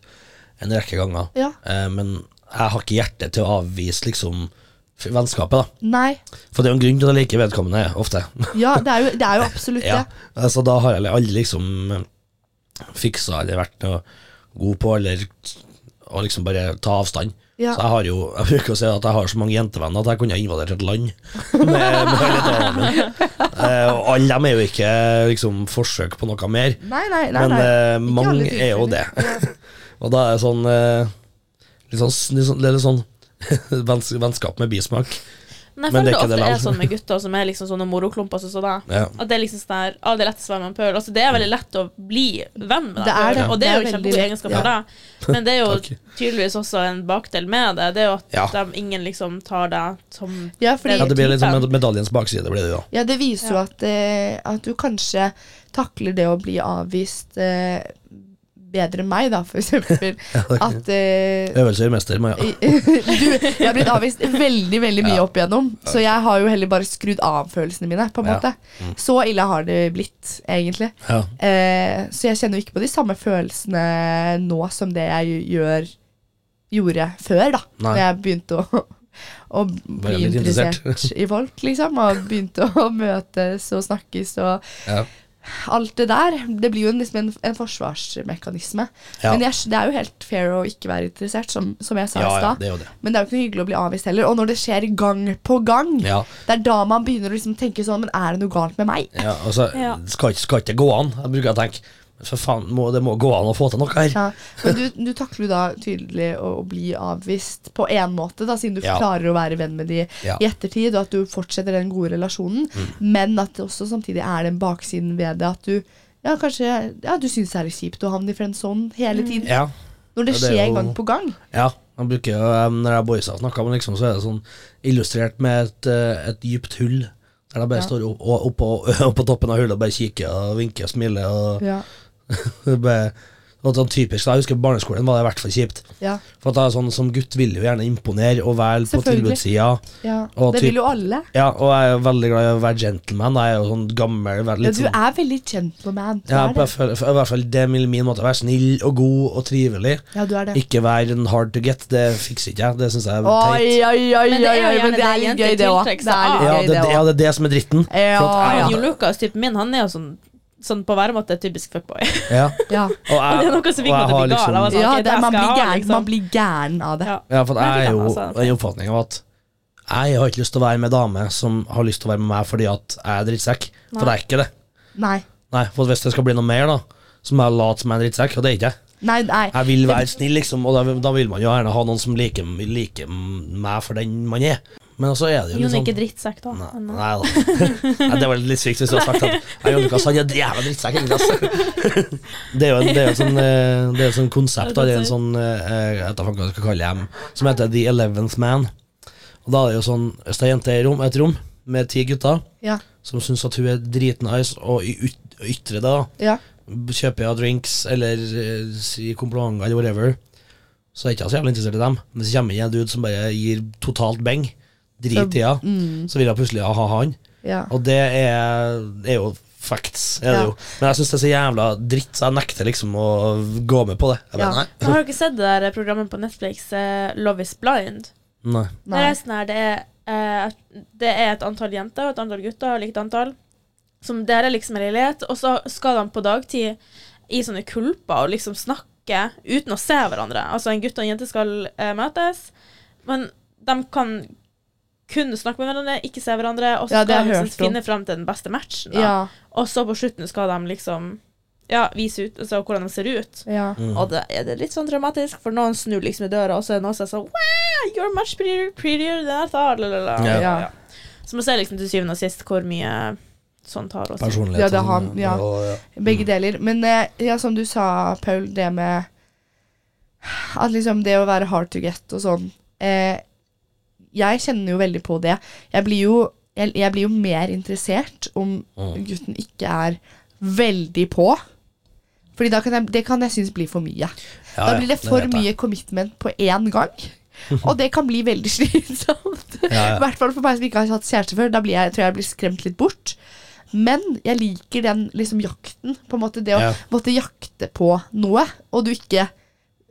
[SPEAKER 2] en rekke ganger.
[SPEAKER 1] Ja.
[SPEAKER 2] Eh, men jeg har ikke hjerte til å avvise liksom f- vennskapet, da.
[SPEAKER 1] Nei.
[SPEAKER 2] For det er jo en grunn til at jeg liker vedkommende, ofte.
[SPEAKER 1] Ja, det er jo, det er jo absolutt
[SPEAKER 2] ja.
[SPEAKER 1] det.
[SPEAKER 2] Altså, da har jeg aldri liksom eh, fiksa eller vært noe god på, eller å liksom bare ta avstand.
[SPEAKER 1] Ja.
[SPEAKER 2] Så jeg har jo Jeg bruker å si at jeg har så mange jentevenner at jeg kunne ha invadert et land. Med, med alle damene mine. Eh, og alle dem er jo ikke liksom forsøk på noe mer.
[SPEAKER 1] Nei, nei, nei.
[SPEAKER 2] Men
[SPEAKER 1] nei.
[SPEAKER 2] eh,
[SPEAKER 1] Ikke alle
[SPEAKER 2] mange er jo det.
[SPEAKER 1] tilfeller.
[SPEAKER 2] og da er det sånn eh, Litt sånn, litt sånn, litt sånn venns- vennskap med bismak.
[SPEAKER 3] Men jeg
[SPEAKER 2] Men det
[SPEAKER 3] føler
[SPEAKER 2] er ikke
[SPEAKER 3] det ofte
[SPEAKER 2] det Mm.
[SPEAKER 3] er
[SPEAKER 2] langt.
[SPEAKER 3] sånn med gutter som er liksom sånne moroklumper som sånn der.
[SPEAKER 2] Ja.
[SPEAKER 3] At det er liksom sånn der, ah, det er lett å være med en pøl. Altså, det er veldig lett å bli venn med
[SPEAKER 1] Det er det.
[SPEAKER 3] deg, og det er jo
[SPEAKER 1] Det er
[SPEAKER 3] kjempegode
[SPEAKER 1] veldig
[SPEAKER 3] egenskaper
[SPEAKER 2] lett,
[SPEAKER 3] for deg. Men det er jo
[SPEAKER 2] Takk.
[SPEAKER 3] tydeligvis også en bakdel med det. Det er jo at
[SPEAKER 2] Ja.
[SPEAKER 3] de, ingen liksom tar deg som
[SPEAKER 1] Ja, fordi,
[SPEAKER 2] ja,
[SPEAKER 1] ja,
[SPEAKER 2] det
[SPEAKER 1] det,
[SPEAKER 2] blir litt sånn
[SPEAKER 3] typen.
[SPEAKER 2] med- medaljens bakside, blir det jo.
[SPEAKER 1] viser jo at, eh, at du kanskje takler det å bli avvist eh, bedre enn meg, da, for eksempel. At eh,
[SPEAKER 2] Øvelse gjør mester. Men, ja.
[SPEAKER 1] du, jeg har blitt avvist veldig veldig mye
[SPEAKER 2] Ja.
[SPEAKER 1] opp igjennom, så jeg har jo heller bare skrudd av følelsene mine. på en
[SPEAKER 2] Ja. Mm.
[SPEAKER 1] måte. Så ille har det blitt, egentlig.
[SPEAKER 2] Ja.
[SPEAKER 1] Eh, så jeg kjenner jo ikke på de samme følelsene nå som det jeg gjør gjorde før, da.
[SPEAKER 2] Nei.
[SPEAKER 1] Når jeg begynte å, å bli
[SPEAKER 2] litt
[SPEAKER 1] interessert
[SPEAKER 2] interessert.
[SPEAKER 1] i folk, liksom. Og begynte å møtes og snakkes og
[SPEAKER 2] Ja.
[SPEAKER 1] alt det der. Det blir jo en- liksom en, en forsvarsmekanisme.
[SPEAKER 2] Ja.
[SPEAKER 1] Men jeg, det er jo helt fair å ikke være interessert, som, som jeg sa
[SPEAKER 2] ja,
[SPEAKER 1] i
[SPEAKER 2] ja,
[SPEAKER 1] stad.
[SPEAKER 2] det er jo det.
[SPEAKER 1] Men det er jo ikke noe hyggelig å bli avvist heller. Og når det skjer gang på gang,
[SPEAKER 2] Ja.
[SPEAKER 1] det er da man begynner å liksom tenke sånn Men er det noe galt med meg?
[SPEAKER 2] Ja, altså,
[SPEAKER 3] Ja.
[SPEAKER 2] Skal, ikke- skal ikke det gå an? Jeg bruker å tenke For faen, må, det må gå an å få til noe her.
[SPEAKER 1] Ja, men du, du takler jo da tydelig å, å bli avvist på én måte, da, siden du
[SPEAKER 2] Ja.
[SPEAKER 1] klarer å være venn med de
[SPEAKER 2] Ja. Mm.
[SPEAKER 1] i ettertid, og at du fortsetter den gode relasjonen. Men at det også samtidig er den baksiden ved det at du ja, kanskje, ja, du syns det er litt kjipt å havne i friendzone hele
[SPEAKER 3] Mm.
[SPEAKER 1] tiden.
[SPEAKER 2] Ja.
[SPEAKER 1] Når det
[SPEAKER 2] Ja, det er
[SPEAKER 1] skjer
[SPEAKER 2] jo-
[SPEAKER 1] gang på gang.
[SPEAKER 2] ja. Jeg bruker jo, eh, Når jeg og boysa snakker, men liksom, så er det sånn illustrert med et, eh, et dypt hull. Der de bare
[SPEAKER 1] Ja.
[SPEAKER 2] står opp, opp, opp, på toppen av hullet og bare kikker og vinker og smiler. Og,
[SPEAKER 1] Ja,
[SPEAKER 2] bare, og sånn typisk, da, Jeg husker på barneskolen var det i hvert fall kjipt.
[SPEAKER 1] ja,
[SPEAKER 2] For at da, er det sånn, Som gutt vil du gjerne imponere og være på
[SPEAKER 1] Selvfølgelig.
[SPEAKER 2] tilbudssida.
[SPEAKER 1] ja.
[SPEAKER 2] Og
[SPEAKER 1] det
[SPEAKER 2] typ-
[SPEAKER 1] vil jo alle.
[SPEAKER 2] Ja, og jeg er veldig glad i å være gentleman. Jeg er jo sånn gammel. veldig
[SPEAKER 1] Ja,
[SPEAKER 2] litt
[SPEAKER 1] du
[SPEAKER 2] sånn,
[SPEAKER 1] er veldig gentleman. Du
[SPEAKER 2] Ja,
[SPEAKER 1] er
[SPEAKER 2] på,
[SPEAKER 1] det.
[SPEAKER 2] for, for, i hvert fall det er min min måte. Være snill og god og trivelig.
[SPEAKER 1] Ja, du er det.
[SPEAKER 2] Ikke være en hard to get. Det fikser ikke jeg. Det syns jeg er teit.
[SPEAKER 1] Oi, oi, oi, oi,
[SPEAKER 3] Men det er jo
[SPEAKER 1] oi, men
[SPEAKER 3] gjerne
[SPEAKER 1] det er
[SPEAKER 3] det
[SPEAKER 1] litt
[SPEAKER 3] jenter
[SPEAKER 1] gøy, det òg.
[SPEAKER 3] tiltrekker
[SPEAKER 1] Det
[SPEAKER 3] seg
[SPEAKER 1] er
[SPEAKER 3] av.
[SPEAKER 1] litt
[SPEAKER 2] Ja,
[SPEAKER 1] gøy,
[SPEAKER 2] det,
[SPEAKER 1] det
[SPEAKER 2] ja,
[SPEAKER 1] òg.
[SPEAKER 2] det er det som er dritten.
[SPEAKER 1] Ja,
[SPEAKER 3] Han
[SPEAKER 1] ja.
[SPEAKER 3] Jo Lucas, typen min, han er jo sånn Sånn på væremåte typisk fuckboy.
[SPEAKER 2] Ja.
[SPEAKER 1] Ja.
[SPEAKER 2] Og jeg,
[SPEAKER 3] Og det er noe som
[SPEAKER 2] og
[SPEAKER 3] fikk meg
[SPEAKER 2] jeg
[SPEAKER 3] til å
[SPEAKER 2] har liksom-
[SPEAKER 3] bli gal. Jeg var sånn,
[SPEAKER 1] Ja,
[SPEAKER 3] ok,
[SPEAKER 1] det,
[SPEAKER 3] der
[SPEAKER 1] man,
[SPEAKER 3] skal
[SPEAKER 1] blir
[SPEAKER 3] jeg ha,
[SPEAKER 1] gæren,
[SPEAKER 3] liksom.
[SPEAKER 1] man blir gæren av det.
[SPEAKER 3] Ja.
[SPEAKER 2] Ja, for
[SPEAKER 3] Men
[SPEAKER 2] jeg er
[SPEAKER 3] det
[SPEAKER 2] jo
[SPEAKER 3] kan man
[SPEAKER 2] av
[SPEAKER 3] altså.
[SPEAKER 2] den oppfatning av at jeg har ikke lyst til å være med dame som har lyst til å være med meg fordi at jeg er drittsekk. For det
[SPEAKER 3] Nei.
[SPEAKER 2] er ikke det.
[SPEAKER 1] Nei.
[SPEAKER 2] Nei, for Hvis det skal bli noe mer, da, så må jeg late som jeg er en drittsekk, og det er ikke jeg.
[SPEAKER 1] Nei, nei.
[SPEAKER 2] Jeg vil være snill, liksom, og da, vil- da vil man jo gjerne ha noen som liker, liker meg for den man er. Men så er det jo
[SPEAKER 3] Jon
[SPEAKER 2] litt
[SPEAKER 3] er
[SPEAKER 2] sånn
[SPEAKER 3] ikke drittsekk, da.
[SPEAKER 2] Nei,
[SPEAKER 3] Men,
[SPEAKER 2] nei da. Nei, det var litt sykt hvis du hadde sagt at «Ja, Jon Lukas han er en jævla drittsekk. egentlig, ass». Det er jo en- det er jo et sånn, eh, det er et sånt konsept, da, det er en sånn, eh, jeg vet da faen hva jeg skal kalle dem, som heter The Eleventh Man. Og da er det jo sånn, Hvis det er en jente i rom, et rom med ti gutter
[SPEAKER 1] Ja.
[SPEAKER 2] som syns at hun er dritnice, og i yt- ytrer det, da,
[SPEAKER 1] ja.
[SPEAKER 2] kjøper jeg drinks eller eh, sier komplimenter eller whatever, så er jeg ikke så jævlig interessert i dem. Men så kommer det en dude som bare gir totalt beng, drit i henne,
[SPEAKER 1] Mm,
[SPEAKER 2] så vil jeg plutselig ha han.
[SPEAKER 1] ja.
[SPEAKER 2] Og det er, det er jo facts, er det
[SPEAKER 1] Ja.
[SPEAKER 2] jo. Men jeg syns det er så jævla dritt, så jeg nekter liksom å gå med på det. Jeg
[SPEAKER 1] Ja.
[SPEAKER 2] bare,
[SPEAKER 3] Men har dere sett det der programmet på Netflix, eh, Love is blind?
[SPEAKER 2] nei.
[SPEAKER 1] Nei.
[SPEAKER 2] nei.
[SPEAKER 3] Nei. Det, er sånn her, det, er, eh, det er et antall jenter og et antall gutter, likt antall, som dere er liksom en leilighet, og så skal de på dagtid i sånne kulper og liksom snakke uten å se hverandre. Altså en gutt og en jente skal eh, møtes, men de kan kun snakke med hverandre, ikke se hverandre, og så
[SPEAKER 1] Ja, det
[SPEAKER 3] skal
[SPEAKER 1] har
[SPEAKER 3] de
[SPEAKER 1] jeg hørt
[SPEAKER 3] liksom
[SPEAKER 1] om.
[SPEAKER 3] finne fram til den beste matchen. Da.
[SPEAKER 1] Ja.
[SPEAKER 3] Og så på slutten skal de liksom ja, vise ut altså, hvordan de ser ut.
[SPEAKER 1] ja.
[SPEAKER 2] Mm.
[SPEAKER 3] Og det er det litt sånn dramatisk, for noen snur liksom i døra, og så er det noen som er sånn Wow, you're much prettier, prettier than I thought. Lalala.
[SPEAKER 2] Ja.
[SPEAKER 1] Ja.
[SPEAKER 3] Så man ser liksom til syvende og sist hvor mye sånn sånt har å si.
[SPEAKER 2] Personligheten.
[SPEAKER 1] Ja, det er han, ja.
[SPEAKER 2] og- ja.
[SPEAKER 1] Begge deler. Men eh, ja, som du sa, Paul, det med At liksom det å være hard to get og sånn eh, Jeg kjenner jo veldig på det. Jeg blir jo, jeg, jeg blir jo mer interessert om
[SPEAKER 2] Mm.
[SPEAKER 1] gutten ikke er veldig på. Fordi da kan jeg, det kan jeg synes bli for mye.
[SPEAKER 2] Ja,
[SPEAKER 1] da
[SPEAKER 2] ja,
[SPEAKER 1] blir det for
[SPEAKER 2] vet jeg.
[SPEAKER 1] mye commitment på én gang. Og det kan bli veldig slitsomt.
[SPEAKER 2] Ja,
[SPEAKER 1] I
[SPEAKER 2] ja.
[SPEAKER 1] hvert fall for meg som ikke har hatt kjæreste før. Da blir jeg, tror jeg jeg blir skremt litt bort. Men jeg liker den liksom jakten. På en måte Det å
[SPEAKER 2] Ja.
[SPEAKER 1] måtte jakte på noe, og du ikke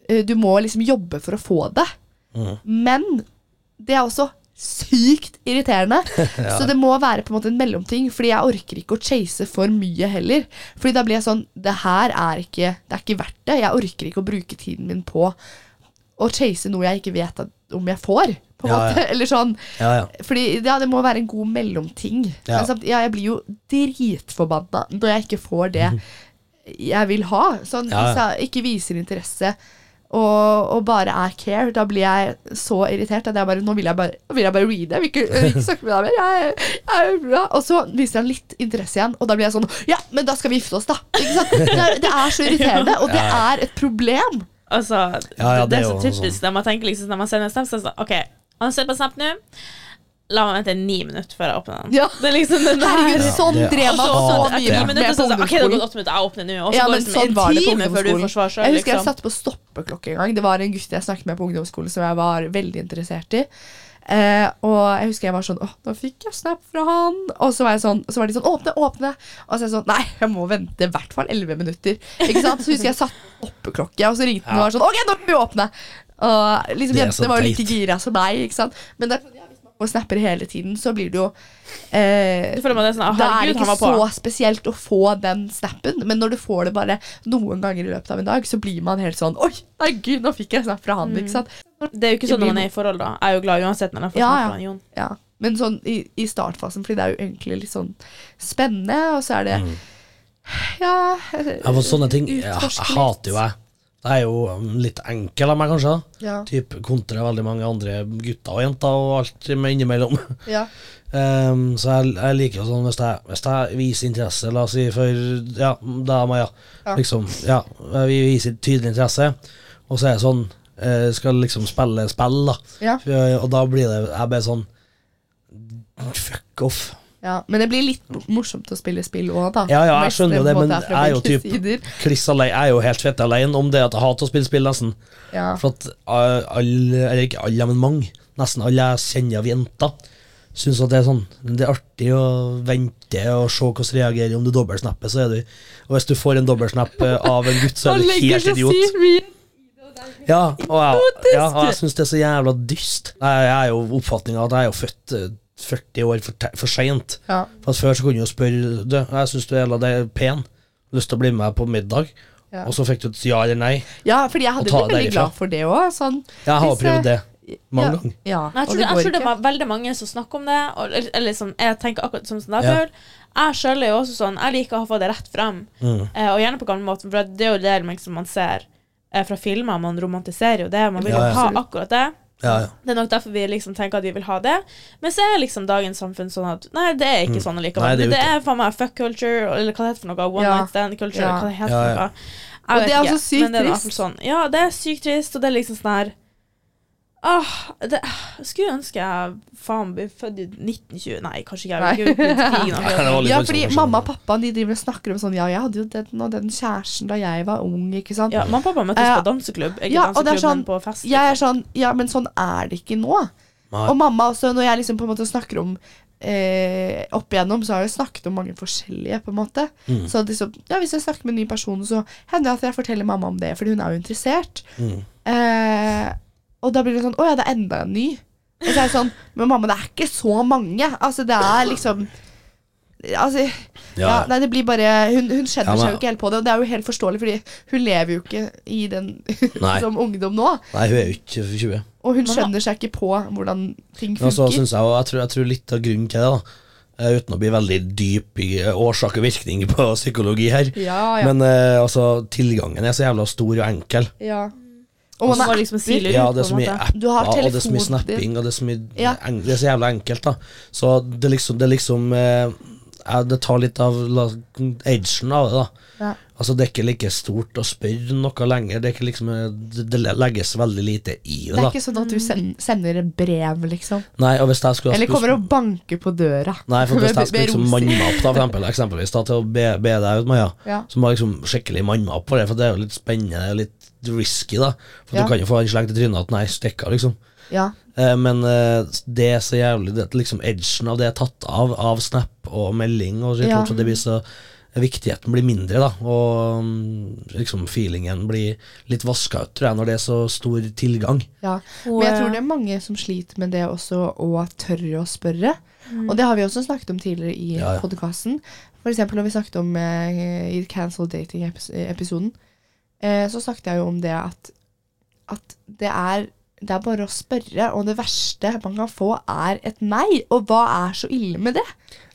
[SPEAKER 1] eh, Du må liksom jobbe for å få det.
[SPEAKER 2] Mhm.
[SPEAKER 1] Men det er også sykt irriterende. Så det må være på en måte en mellomting, Fordi jeg orker ikke å chase for mye heller. Fordi da blir jeg sånn Det her er ikke Det er ikke verdt det. Jeg orker ikke å bruke tiden min på å chase noe jeg ikke vet at, om jeg får. På en
[SPEAKER 2] Ja, ja.
[SPEAKER 1] måte Eller sånn
[SPEAKER 2] ja, ja.
[SPEAKER 1] fordi ja, det må være en god mellomting.
[SPEAKER 2] Ja.
[SPEAKER 1] Men samt, ja, jeg blir jo dritforbanna når jeg ikke får det jeg vil ha. Sånn,
[SPEAKER 2] Ja, ja.
[SPEAKER 1] Hvis jeg ikke viser interesse og, og bare er care, da blir jeg så irritert at jeg bare Nå vil jeg bare, nå vil jeg bare reade. Jeg vil ikke, jeg vil ikke snakke med deg mer. Jeg, jeg, er bra. Og så viser han litt interesse igjen, og da blir jeg sånn Ja, men da skal vi gifte oss, da! Ikke sant? Det, er, det er så irriterende, og det er et problem.
[SPEAKER 3] Altså,
[SPEAKER 2] Ja, ja,
[SPEAKER 3] det,
[SPEAKER 2] det er
[SPEAKER 3] er
[SPEAKER 2] jo sånn.
[SPEAKER 3] så typisk. Når man tenker liksom Når man sender en snap, så er det sånn OK, han ser på snap nå. La meg vente ni minutter før jeg åpner den.
[SPEAKER 1] Ja.
[SPEAKER 3] Det er Altså, liksom den der.
[SPEAKER 1] Herregud,
[SPEAKER 2] Ja,
[SPEAKER 1] sånn
[SPEAKER 2] det er-
[SPEAKER 1] drev
[SPEAKER 3] Og
[SPEAKER 1] man
[SPEAKER 3] så-
[SPEAKER 1] så
[SPEAKER 3] og så
[SPEAKER 1] mye
[SPEAKER 3] etter ti
[SPEAKER 1] med på
[SPEAKER 3] minutter så er det sånn, OK, det har
[SPEAKER 1] ungdomsskolen.
[SPEAKER 3] gått åtte minutter, jeg åpner nå. Og så
[SPEAKER 1] Ja,
[SPEAKER 3] går
[SPEAKER 1] men
[SPEAKER 3] det liksom
[SPEAKER 1] sånn var
[SPEAKER 3] en
[SPEAKER 1] det på
[SPEAKER 3] time før du får svar
[SPEAKER 1] ungdomsskolen.
[SPEAKER 3] sjøl.
[SPEAKER 1] Jeg husker jeg
[SPEAKER 3] Liksom.
[SPEAKER 1] satt på stoppeklokke en gang. Det var en gutt jeg snakket med på ungdomsskolen som jeg var veldig interessert i. Eh, og jeg husker jeg var sånn Å, nå fikk jeg snap fra han. Og så var, jeg sånn, så var de sånn Åpne, åpne. Og så er jeg sånn Nei, jeg må vente i hvert fall 11 minutter. Ikke sant? Så husker jeg satt stoppeklokke, og så ringte han og var sånn OK, nå må vi åpne. Og liksom
[SPEAKER 2] Det er
[SPEAKER 1] jentene
[SPEAKER 2] så
[SPEAKER 1] var jo
[SPEAKER 2] teit.
[SPEAKER 1] like gira som meg, ikke sant. Men det er sånn, ja, hvis man får snapper hele tiden, så blir det jo eh,
[SPEAKER 3] Du føler man det er sånn, «Ah,
[SPEAKER 1] da er det
[SPEAKER 3] herregud, han
[SPEAKER 1] ikke
[SPEAKER 3] var på.
[SPEAKER 1] så spesielt å få den snappen, men når du får det bare noen ganger i løpet av en dag, så blir man helt sånn Oi, nei gud, nå fikk jeg snap fra han, ikke sant?
[SPEAKER 3] Det er jo ikke sånn Mm. når man er i forhold, da. Jeg er jo glad uansett når jeg får
[SPEAKER 1] Ja,
[SPEAKER 3] snap
[SPEAKER 1] ja.
[SPEAKER 3] fra en Jon.
[SPEAKER 1] Ja. Men sånn i, i startfasen, fordi det er jo egentlig litt sånn spennende, og så er det Ja
[SPEAKER 2] Mm. Ja, for sånne ting jeg,
[SPEAKER 1] Utforske
[SPEAKER 2] jeg
[SPEAKER 1] litt.
[SPEAKER 2] hater jo jeg. Jeg er jo um, litt enkel av meg, kanskje. da.
[SPEAKER 1] Ja.
[SPEAKER 2] Typ kontra veldig mange andre gutter og jenter og alt med innimellom.
[SPEAKER 1] ja.
[SPEAKER 2] Ehm, så jeg, jeg liker jo sånn hvis jeg, hvis jeg viser interesse, la oss si for ja, dama, ja.
[SPEAKER 1] Ja.
[SPEAKER 2] Liksom, ja, vi viser tydelig interesse, og så er det sånn eh, Skal liksom spille spill, da.
[SPEAKER 1] Ja.
[SPEAKER 2] For- eh, Og da blir det Jeg blir sånn Fuck off.
[SPEAKER 1] Ja, men det blir litt morsomt å spille spill òg, da.
[SPEAKER 2] Ja, ja, jeg
[SPEAKER 1] Med
[SPEAKER 2] skjønner jo det,
[SPEAKER 1] ekstrem
[SPEAKER 2] men
[SPEAKER 1] måte her fra
[SPEAKER 2] jeg er jo
[SPEAKER 1] begge
[SPEAKER 2] typ-
[SPEAKER 1] sider.
[SPEAKER 2] Chris alene, jeg er jo helt fett alene om det at jeg hater å spille spill, nesten.
[SPEAKER 1] ja.
[SPEAKER 2] For at eh, alle, eller ikke alle, men mange, nesten alle jeg kjenner av jenter, syns at det er sånn Det er artig å vente og se hvordan du reagerer. Om du dobbeltsnapper, så er du Og hvis du får en dobbeltsnapp eh, av en gutt, så
[SPEAKER 1] Han
[SPEAKER 2] er du
[SPEAKER 1] legger
[SPEAKER 2] helt
[SPEAKER 1] seg
[SPEAKER 2] idiot.
[SPEAKER 1] sykt mye.
[SPEAKER 2] Ja, og jeg, ja, og jeg syns det er så jævla dyst. Jeg, jeg er jo oppfatninga at jeg er jo født eh, 40 år for, te- for seint.
[SPEAKER 1] Ja.
[SPEAKER 2] For at Før så kunne du jo spørre Du, jeg syns du er jævla deg- pen, lyst til å bli med på middag?
[SPEAKER 1] Ja.
[SPEAKER 2] Og så fikk du et ja eller nei.
[SPEAKER 1] ja, fordi jeg hadde
[SPEAKER 2] ta
[SPEAKER 1] blitt
[SPEAKER 2] det
[SPEAKER 1] veldig
[SPEAKER 2] derifra.
[SPEAKER 1] glad for det òg. Sånn,
[SPEAKER 2] Jeg har
[SPEAKER 1] Hvis, eh,
[SPEAKER 2] prøvd det mange
[SPEAKER 1] ja,
[SPEAKER 2] ganger.
[SPEAKER 1] Ja,
[SPEAKER 3] Men
[SPEAKER 1] og
[SPEAKER 3] jeg tror,
[SPEAKER 1] går
[SPEAKER 3] det, jeg tror det
[SPEAKER 1] ikke.
[SPEAKER 3] var veldig mange som snakker om det. Og, eller, eller sånn, jeg tenker akkurat sånn som deg,
[SPEAKER 2] Ja.
[SPEAKER 3] Paul. Jeg sjøl er jo også sånn. Jeg liker å få det rett frem.
[SPEAKER 2] Mm.
[SPEAKER 3] Eh, og gjerne på gamlemåten, for det er jo det liksom, man ser eh, fra filmer. Man romantiserer jo det. Man vil jo
[SPEAKER 2] Ja, ja.
[SPEAKER 3] ha akkurat det.
[SPEAKER 2] Ja, ja.
[SPEAKER 3] Det er nok derfor vi liksom tenker at vi vil ha det. Men så er liksom dagens samfunn sånn at Nei, det er ikke sånn allikevel.
[SPEAKER 2] Mm. Nei, det er
[SPEAKER 3] det
[SPEAKER 2] jo
[SPEAKER 3] men det er faen meg fuck culture, eller hva det heter for noe. One
[SPEAKER 1] Ja.
[SPEAKER 3] night stand culture,
[SPEAKER 1] Ja.
[SPEAKER 3] hva det heter
[SPEAKER 2] Ja, ja.
[SPEAKER 3] for noe. Jeg
[SPEAKER 1] Og
[SPEAKER 3] vet
[SPEAKER 1] det er
[SPEAKER 3] ikke,
[SPEAKER 1] altså sykt
[SPEAKER 3] men det er i hvert fall
[SPEAKER 1] trist.
[SPEAKER 3] Sånn. Ja, det er sykt trist, og det er liksom sånn her Åh, det, Skulle ønske jeg faen ble født i 1920 Nei, kanskje ikke. Jeg vil ikke ut i krigen.
[SPEAKER 2] var litt sånn
[SPEAKER 3] akkurat nå.
[SPEAKER 1] Ja,
[SPEAKER 2] voldsomt,
[SPEAKER 1] fordi
[SPEAKER 2] kanskje.
[SPEAKER 1] mamma og pappa de driver og snakker om sånn Ja, jeg hadde jo den og den kjæresten da jeg var ung, ikke sant.
[SPEAKER 3] Ja, Mamma og pappa møttes
[SPEAKER 1] Ja.
[SPEAKER 3] på danseklubb. Ikke
[SPEAKER 1] Ja, og det er
[SPEAKER 3] danseklubb,
[SPEAKER 1] sånn-
[SPEAKER 3] men på fest.
[SPEAKER 1] Jeg er sånn Ja, men sånn er det ikke nå.
[SPEAKER 2] Nei.
[SPEAKER 1] Og mamma også, når jeg liksom på en måte snakker om eh, opp igjennom, så har jeg snakket om mange forskjellige, på en måte.
[SPEAKER 2] Mm.
[SPEAKER 1] Så liksom, ja, hvis jeg snakker med en ny person, så hender det at jeg forteller mamma om det, fordi hun er jo interessert.
[SPEAKER 2] Mm.
[SPEAKER 1] Eh, og da blir det sånn Å ja, det er enda en ny. Og så er jeg sånn Men mamma, det er ikke så mange. Altså, det er liksom Altså ja,
[SPEAKER 2] Ja.
[SPEAKER 1] nei, det blir bare Hun, hun skjønner
[SPEAKER 2] Ja, men-
[SPEAKER 1] seg jo ikke helt på det, og det er jo helt forståelig, fordi hun lever jo ikke i den
[SPEAKER 2] Nei.
[SPEAKER 1] som ungdom nå.
[SPEAKER 2] Nei, hun er jo ikke 20.
[SPEAKER 1] Og hun
[SPEAKER 3] Mamma.
[SPEAKER 1] skjønner seg ikke på hvordan ting
[SPEAKER 2] Men altså, så
[SPEAKER 1] funker.
[SPEAKER 2] synes jeg, og jeg, tror, jeg tror litt av grunnen til det, da, eh, uten å bli veldig dyp i eh, årsak og virkning på psykologi her,
[SPEAKER 1] Ja, ja,
[SPEAKER 2] men eh, altså, tilgangen er så jævla stor og enkel.
[SPEAKER 1] ja. Og man
[SPEAKER 3] Og så
[SPEAKER 1] er
[SPEAKER 3] liksom siler
[SPEAKER 2] Ja,
[SPEAKER 3] ut,
[SPEAKER 2] det er
[SPEAKER 3] på
[SPEAKER 2] så
[SPEAKER 3] en
[SPEAKER 2] mye
[SPEAKER 3] måte.
[SPEAKER 1] Du har
[SPEAKER 2] apper, og det er så mye
[SPEAKER 1] telefonen din.
[SPEAKER 2] snapping, og det er så mye
[SPEAKER 1] Ja.
[SPEAKER 2] en- Det er så jævla enkelt, da. Så det liksom, det liksom eh, ja, Det tar litt av la- edgen av det, da.
[SPEAKER 1] Ja.
[SPEAKER 2] Altså, det er ikke like stort å spørre noe lenger. Det, er ikke liksom, eh, det, det legges veldig lite i
[SPEAKER 1] Det
[SPEAKER 2] det,
[SPEAKER 1] er
[SPEAKER 2] da.
[SPEAKER 1] ikke sånn at du sen- sender brev, liksom.
[SPEAKER 2] Nei, og hvis jeg skulle ha
[SPEAKER 1] Eller
[SPEAKER 2] spurt-
[SPEAKER 1] kommer og banker på døra.
[SPEAKER 2] Nei, for hvis
[SPEAKER 1] Med-
[SPEAKER 2] jeg skulle
[SPEAKER 1] med
[SPEAKER 2] liksom
[SPEAKER 1] roser.
[SPEAKER 2] manne meg opp, da, for eksempel, eksempelvis, da, til å be, be deg ut, Maja,
[SPEAKER 1] Ja.
[SPEAKER 2] så må jeg liksom skikkelig manne meg opp for det, for det er jo litt spennende, det er litt risky, da. For
[SPEAKER 1] Ja.
[SPEAKER 2] du kan jo få en slengt i trynet at nei, stikk av, liksom.
[SPEAKER 1] Ja.
[SPEAKER 2] Eh, men eh, det er så jævlig det, liksom Edgen av det er tatt av, av snap og melding, og sånt,
[SPEAKER 1] Ja.
[SPEAKER 2] så det blir så Viktigheten blir mindre, da, og mm, liksom feelingen blir litt vaska ut, tror jeg, når det er så stor tilgang.
[SPEAKER 1] ja.
[SPEAKER 3] Og,
[SPEAKER 1] Men jeg tror det er mange som sliter med det også, og tørre å spørre. Og det har vi også snakket om tidligere i
[SPEAKER 2] Ja, ja.
[SPEAKER 1] podkasten. For eksempel når vi snakket om eh, i Cancel Dating-episoden, eh, så snakket jeg jo om det at, at det, er, det er bare å spørre, og det verste man kan få, er et nei. Og hva er så ille med det?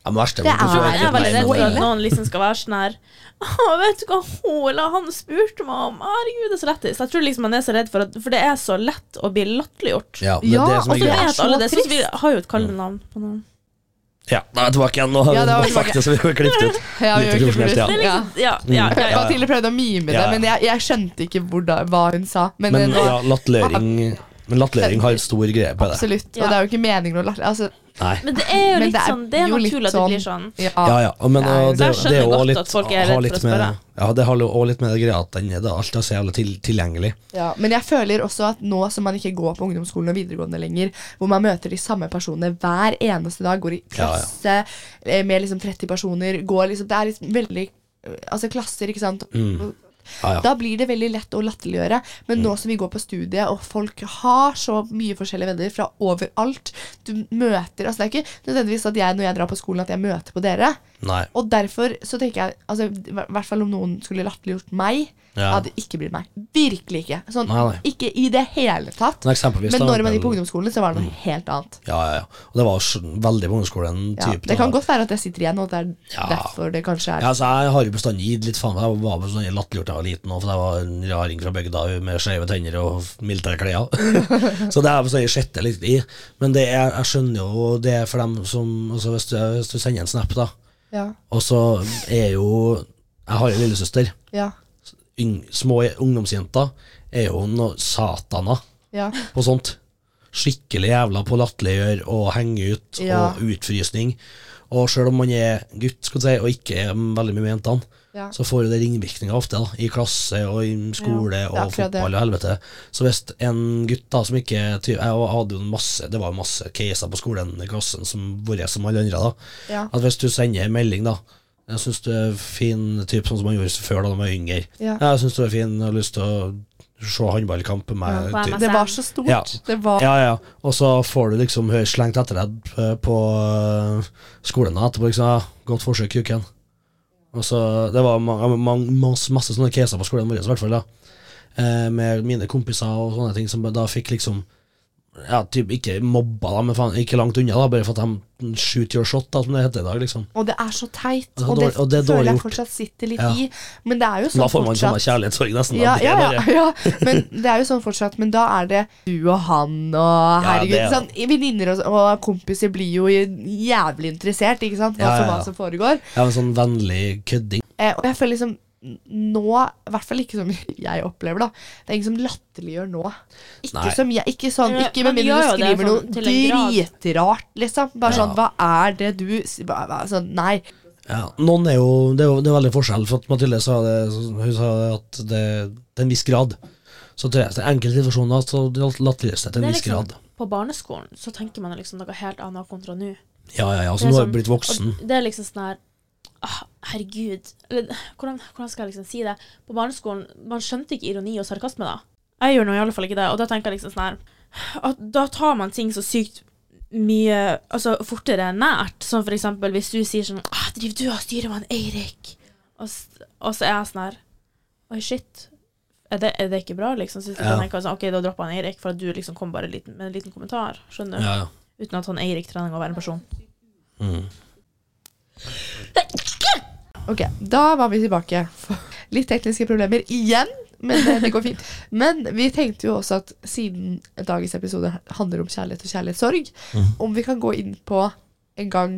[SPEAKER 2] Ja, men verst er
[SPEAKER 1] Det
[SPEAKER 2] vel
[SPEAKER 1] er
[SPEAKER 2] ikke så
[SPEAKER 3] Jeg
[SPEAKER 2] enkelt,
[SPEAKER 3] er veldig
[SPEAKER 2] nei,
[SPEAKER 3] redd for
[SPEAKER 2] men-
[SPEAKER 3] at noen liksom skal være sånn her Å, vet du hva hun eller han spurte meg om? Herregud, det er så lættis. Jeg tror liksom man er så redd for at For det er så lett å bli latterliggjort.
[SPEAKER 2] Ja, det er
[SPEAKER 1] Ja, altså, og det
[SPEAKER 2] det som er
[SPEAKER 3] Og så
[SPEAKER 2] greia.
[SPEAKER 1] er
[SPEAKER 3] vet
[SPEAKER 1] så
[SPEAKER 3] alle det. Så
[SPEAKER 1] trist.
[SPEAKER 3] vi har jo et kallenavn på noen.
[SPEAKER 2] Ja, da er jeg tilbake igjen. Nå
[SPEAKER 1] Ja,
[SPEAKER 2] har
[SPEAKER 1] da er
[SPEAKER 2] vi
[SPEAKER 1] vi
[SPEAKER 2] sagt det, så vi har klippet ut.
[SPEAKER 1] Ja,
[SPEAKER 2] vi Litt gjør ikke profesjonelt, ja.
[SPEAKER 3] Det
[SPEAKER 2] det.
[SPEAKER 3] er liksom, ja,
[SPEAKER 2] Mm.
[SPEAKER 3] ja, ja, ja.
[SPEAKER 1] Mathilde prøvde å mime det,
[SPEAKER 2] Ja, ja.
[SPEAKER 1] men jeg, jeg skjønte ikke hvordan, hva hun sa. Men,
[SPEAKER 2] Men
[SPEAKER 1] det var
[SPEAKER 2] ja, latterliggjøring Men latterliggjøring har et stor greie på det.
[SPEAKER 1] absolutt.
[SPEAKER 3] Ja.
[SPEAKER 1] Og det er jo ikke meningen å latte. Altså,
[SPEAKER 2] Nei.
[SPEAKER 3] Men det er jo
[SPEAKER 1] Men
[SPEAKER 3] litt
[SPEAKER 1] det er
[SPEAKER 3] sånn Det er
[SPEAKER 1] jo litt
[SPEAKER 3] naturlig at det
[SPEAKER 1] sånn-
[SPEAKER 3] blir sånn.
[SPEAKER 2] Ja, ja. og Men,
[SPEAKER 1] Ja,
[SPEAKER 2] og
[SPEAKER 1] jeg
[SPEAKER 2] det,
[SPEAKER 3] skjønner
[SPEAKER 2] det er jo
[SPEAKER 3] godt
[SPEAKER 2] også litt,
[SPEAKER 3] at folk er redd
[SPEAKER 2] har
[SPEAKER 3] for
[SPEAKER 2] litt
[SPEAKER 3] å spørre.
[SPEAKER 2] med, ja, det har jo også litt med det greia at den, det er alt er så jævlig til, tilgjengelig.
[SPEAKER 1] Ja, men jeg føler også at nå som man ikke går på ungdomsskolen og videregående lenger, hvor man møter de samme personene hver eneste dag, går i
[SPEAKER 2] Ja, ja.
[SPEAKER 1] klasse eh, med liksom 30 personer går liksom, Det er liksom veldig eh, Altså klasser, ikke sant.
[SPEAKER 2] Mm, Ja, Mm. ja.
[SPEAKER 1] Da blir det veldig lett å latterliggjøre. Men nå som vi går på studiet, og folk har så mye forskjellige venner fra overalt Du møter Altså, det er ikke nødvendigvis at jeg, når jeg drar på skolen, at jeg møter på dere.
[SPEAKER 2] Nei.
[SPEAKER 1] Og derfor så tenker jeg altså, I hver- hvert fall om noen skulle latterliggjort meg,
[SPEAKER 2] Ja.
[SPEAKER 1] hadde ikke blitt meg. Virkelig ikke. Sånn,
[SPEAKER 2] Nei, nei.
[SPEAKER 1] Ikke i det hele tatt.
[SPEAKER 2] Men eksempelvis
[SPEAKER 1] Men
[SPEAKER 2] da,
[SPEAKER 1] når man gikk på
[SPEAKER 2] den-
[SPEAKER 1] ungdomsskolen, så var det noe
[SPEAKER 2] Mm.
[SPEAKER 1] helt annet.
[SPEAKER 2] Ja, ja, ja. Og det var s- veldig på ungdomsskolen.
[SPEAKER 1] Ja,
[SPEAKER 2] typ,
[SPEAKER 1] det kan
[SPEAKER 2] da.
[SPEAKER 1] godt være at jeg sitter igjen, og at det er
[SPEAKER 2] Ja.
[SPEAKER 1] derfor det kanskje er
[SPEAKER 2] Ja, altså, jeg har jo bestandig gitt litt faen. Jeg var sånn bestandig latterliggjort da jeg var liten, også, for jeg var en raring fra bygda med skeive tenner og militære klær. så det har jeg bestandig sett det litt i. Men det er, jeg skjønner jo det er for dem som altså, hvis, du, hvis du sender en snap, da,
[SPEAKER 1] Ja.
[SPEAKER 2] og så er jo Jeg har jo en lillesøster.
[SPEAKER 1] Ja.
[SPEAKER 2] Yng, små ungdomsjenter er jo noe satana
[SPEAKER 1] ja.
[SPEAKER 2] på sånt. Skikkelig jævla på latterliggjør og henge ut
[SPEAKER 1] Ja.
[SPEAKER 2] og utfrysning. Og sjøl om man er gutt skal du si, og ikke er veldig mye med jentene,
[SPEAKER 1] Ja.
[SPEAKER 2] så får jo det ringvirkninger ofte, da, i klasse og i skole og
[SPEAKER 1] Ja, akkurat det.
[SPEAKER 2] fotball og helvete. Så hvis en gutt da som ikke ty- Jeg hadde jo en masse Det var jo masse caser på skolen i klassen som vår som alle andre, da.
[SPEAKER 1] Ja.
[SPEAKER 2] At hvis du sender en melding, da Jeg syns du er fin type, sånn som man gjorde før da man var yngre.
[SPEAKER 1] Ja.
[SPEAKER 2] Jeg syns du er fin, jeg har lyst til å se håndballkamp med meg.
[SPEAKER 3] Ja, på
[SPEAKER 2] typ.
[SPEAKER 1] Det var så stort.
[SPEAKER 2] Ja.
[SPEAKER 1] Det var
[SPEAKER 2] Ja, ja. Og så får du liksom høre slengt etter deg eh, på eh, skolen da, etterpå. Liksom, ja, 'Godt forsøk, Juken'. Og så, Det var ma- ma- masse, masse sånne caser på skolen vår, i hvert fall. da. Eh, med mine kompiser og sånne ting, som da fikk liksom ja, typ ikke mobba, da, men faen, ikke langt unna, da, bare for at de shoot your shot, da, som det heter i dag. liksom.
[SPEAKER 1] Og det er så teit.
[SPEAKER 2] Altså,
[SPEAKER 1] Og det,
[SPEAKER 2] dårlig- og det er
[SPEAKER 1] føler
[SPEAKER 2] dårlig
[SPEAKER 1] jeg
[SPEAKER 2] gjort.
[SPEAKER 1] fortsatt sitter litt
[SPEAKER 2] Ja.
[SPEAKER 1] i. Men det er jo sånn
[SPEAKER 2] Da får man sånn
[SPEAKER 1] fortsatt.
[SPEAKER 2] kjærlighetssorg, nesten. da.
[SPEAKER 1] Ja,
[SPEAKER 2] Det er
[SPEAKER 1] ja,
[SPEAKER 2] bare-
[SPEAKER 1] ja, ja. Men det er jo sånn fortsatt. Men da er det du og han og
[SPEAKER 2] Ja,
[SPEAKER 1] herregud.
[SPEAKER 2] det er
[SPEAKER 1] sånn, Venninner og, og kompiser blir jo jævlig interessert ikke sant? Hva,
[SPEAKER 2] Ja, ja,
[SPEAKER 1] som-
[SPEAKER 2] ja.
[SPEAKER 1] hva som foregår.
[SPEAKER 2] Ja, en sånn vennlig kødding.
[SPEAKER 1] Eh, og jeg føler liksom n- nå, i hvert fall ikke som jeg opplever, da. Det er ingen som latterliggjør nå. Ikke
[SPEAKER 2] Nei.
[SPEAKER 1] som jeg, ikke sånn,
[SPEAKER 3] Ja,
[SPEAKER 1] ikke
[SPEAKER 3] men
[SPEAKER 1] med mindre
[SPEAKER 3] gjør
[SPEAKER 1] du
[SPEAKER 3] jo det
[SPEAKER 1] skriver
[SPEAKER 3] sånn til en
[SPEAKER 1] noe dritrart, liksom. Bare
[SPEAKER 2] Ja.
[SPEAKER 1] sånn, hva er det du s- hva- hva- sånn, Nei.
[SPEAKER 2] Ja, noen er jo, det er jo det er veldig forskjell, for at Mathilde sa det, hun sa det at det til en viss grad. Så til til enkelte situasjoner så latterliggjøres det til en
[SPEAKER 3] Det er
[SPEAKER 2] viss
[SPEAKER 3] liksom,
[SPEAKER 2] grad.
[SPEAKER 3] på barneskolen så tenker man liksom noe helt annet kontra nå.
[SPEAKER 2] Ja, ja, ja,
[SPEAKER 3] Det
[SPEAKER 2] så
[SPEAKER 3] er
[SPEAKER 2] nå har
[SPEAKER 3] sånn-
[SPEAKER 2] jeg blitt voksen.
[SPEAKER 3] Og det er liksom sånn her «Åh, Herregud. Eller, hvordan, hvordan skal jeg liksom si det? På barneskolen man skjønte ikke ironi og sarkasme da. Jeg gjør nå i alle fall ikke det. Og da tenker jeg liksom sånn her at Da tar man ting så sykt mye altså fortere nært. Som for eksempel hvis du sier sånn ah, 'Driver du og styrer med han Eirik?' Og, s- og så er jeg sånn her Oi, shit. Er det, er det ikke bra, liksom? Så
[SPEAKER 2] Ja.
[SPEAKER 3] ja. tenker jeg sånn, ok, da dropper han Eirik, for at du liksom kom bare liten, med en liten kommentar. Skjønner du?
[SPEAKER 2] Ja, ja.
[SPEAKER 3] Uten at han Eirik trenger å være en person.
[SPEAKER 2] Mm.
[SPEAKER 1] Ok, da var vi tilbake. Litt tekniske problemer igjen, men eh, det går fint. Men vi tenkte jo også at siden dagens episode handler om kjærlighet og kjærlighetssorg,
[SPEAKER 3] Mm.
[SPEAKER 2] Mhm.
[SPEAKER 1] om vi kan gå inn på en gang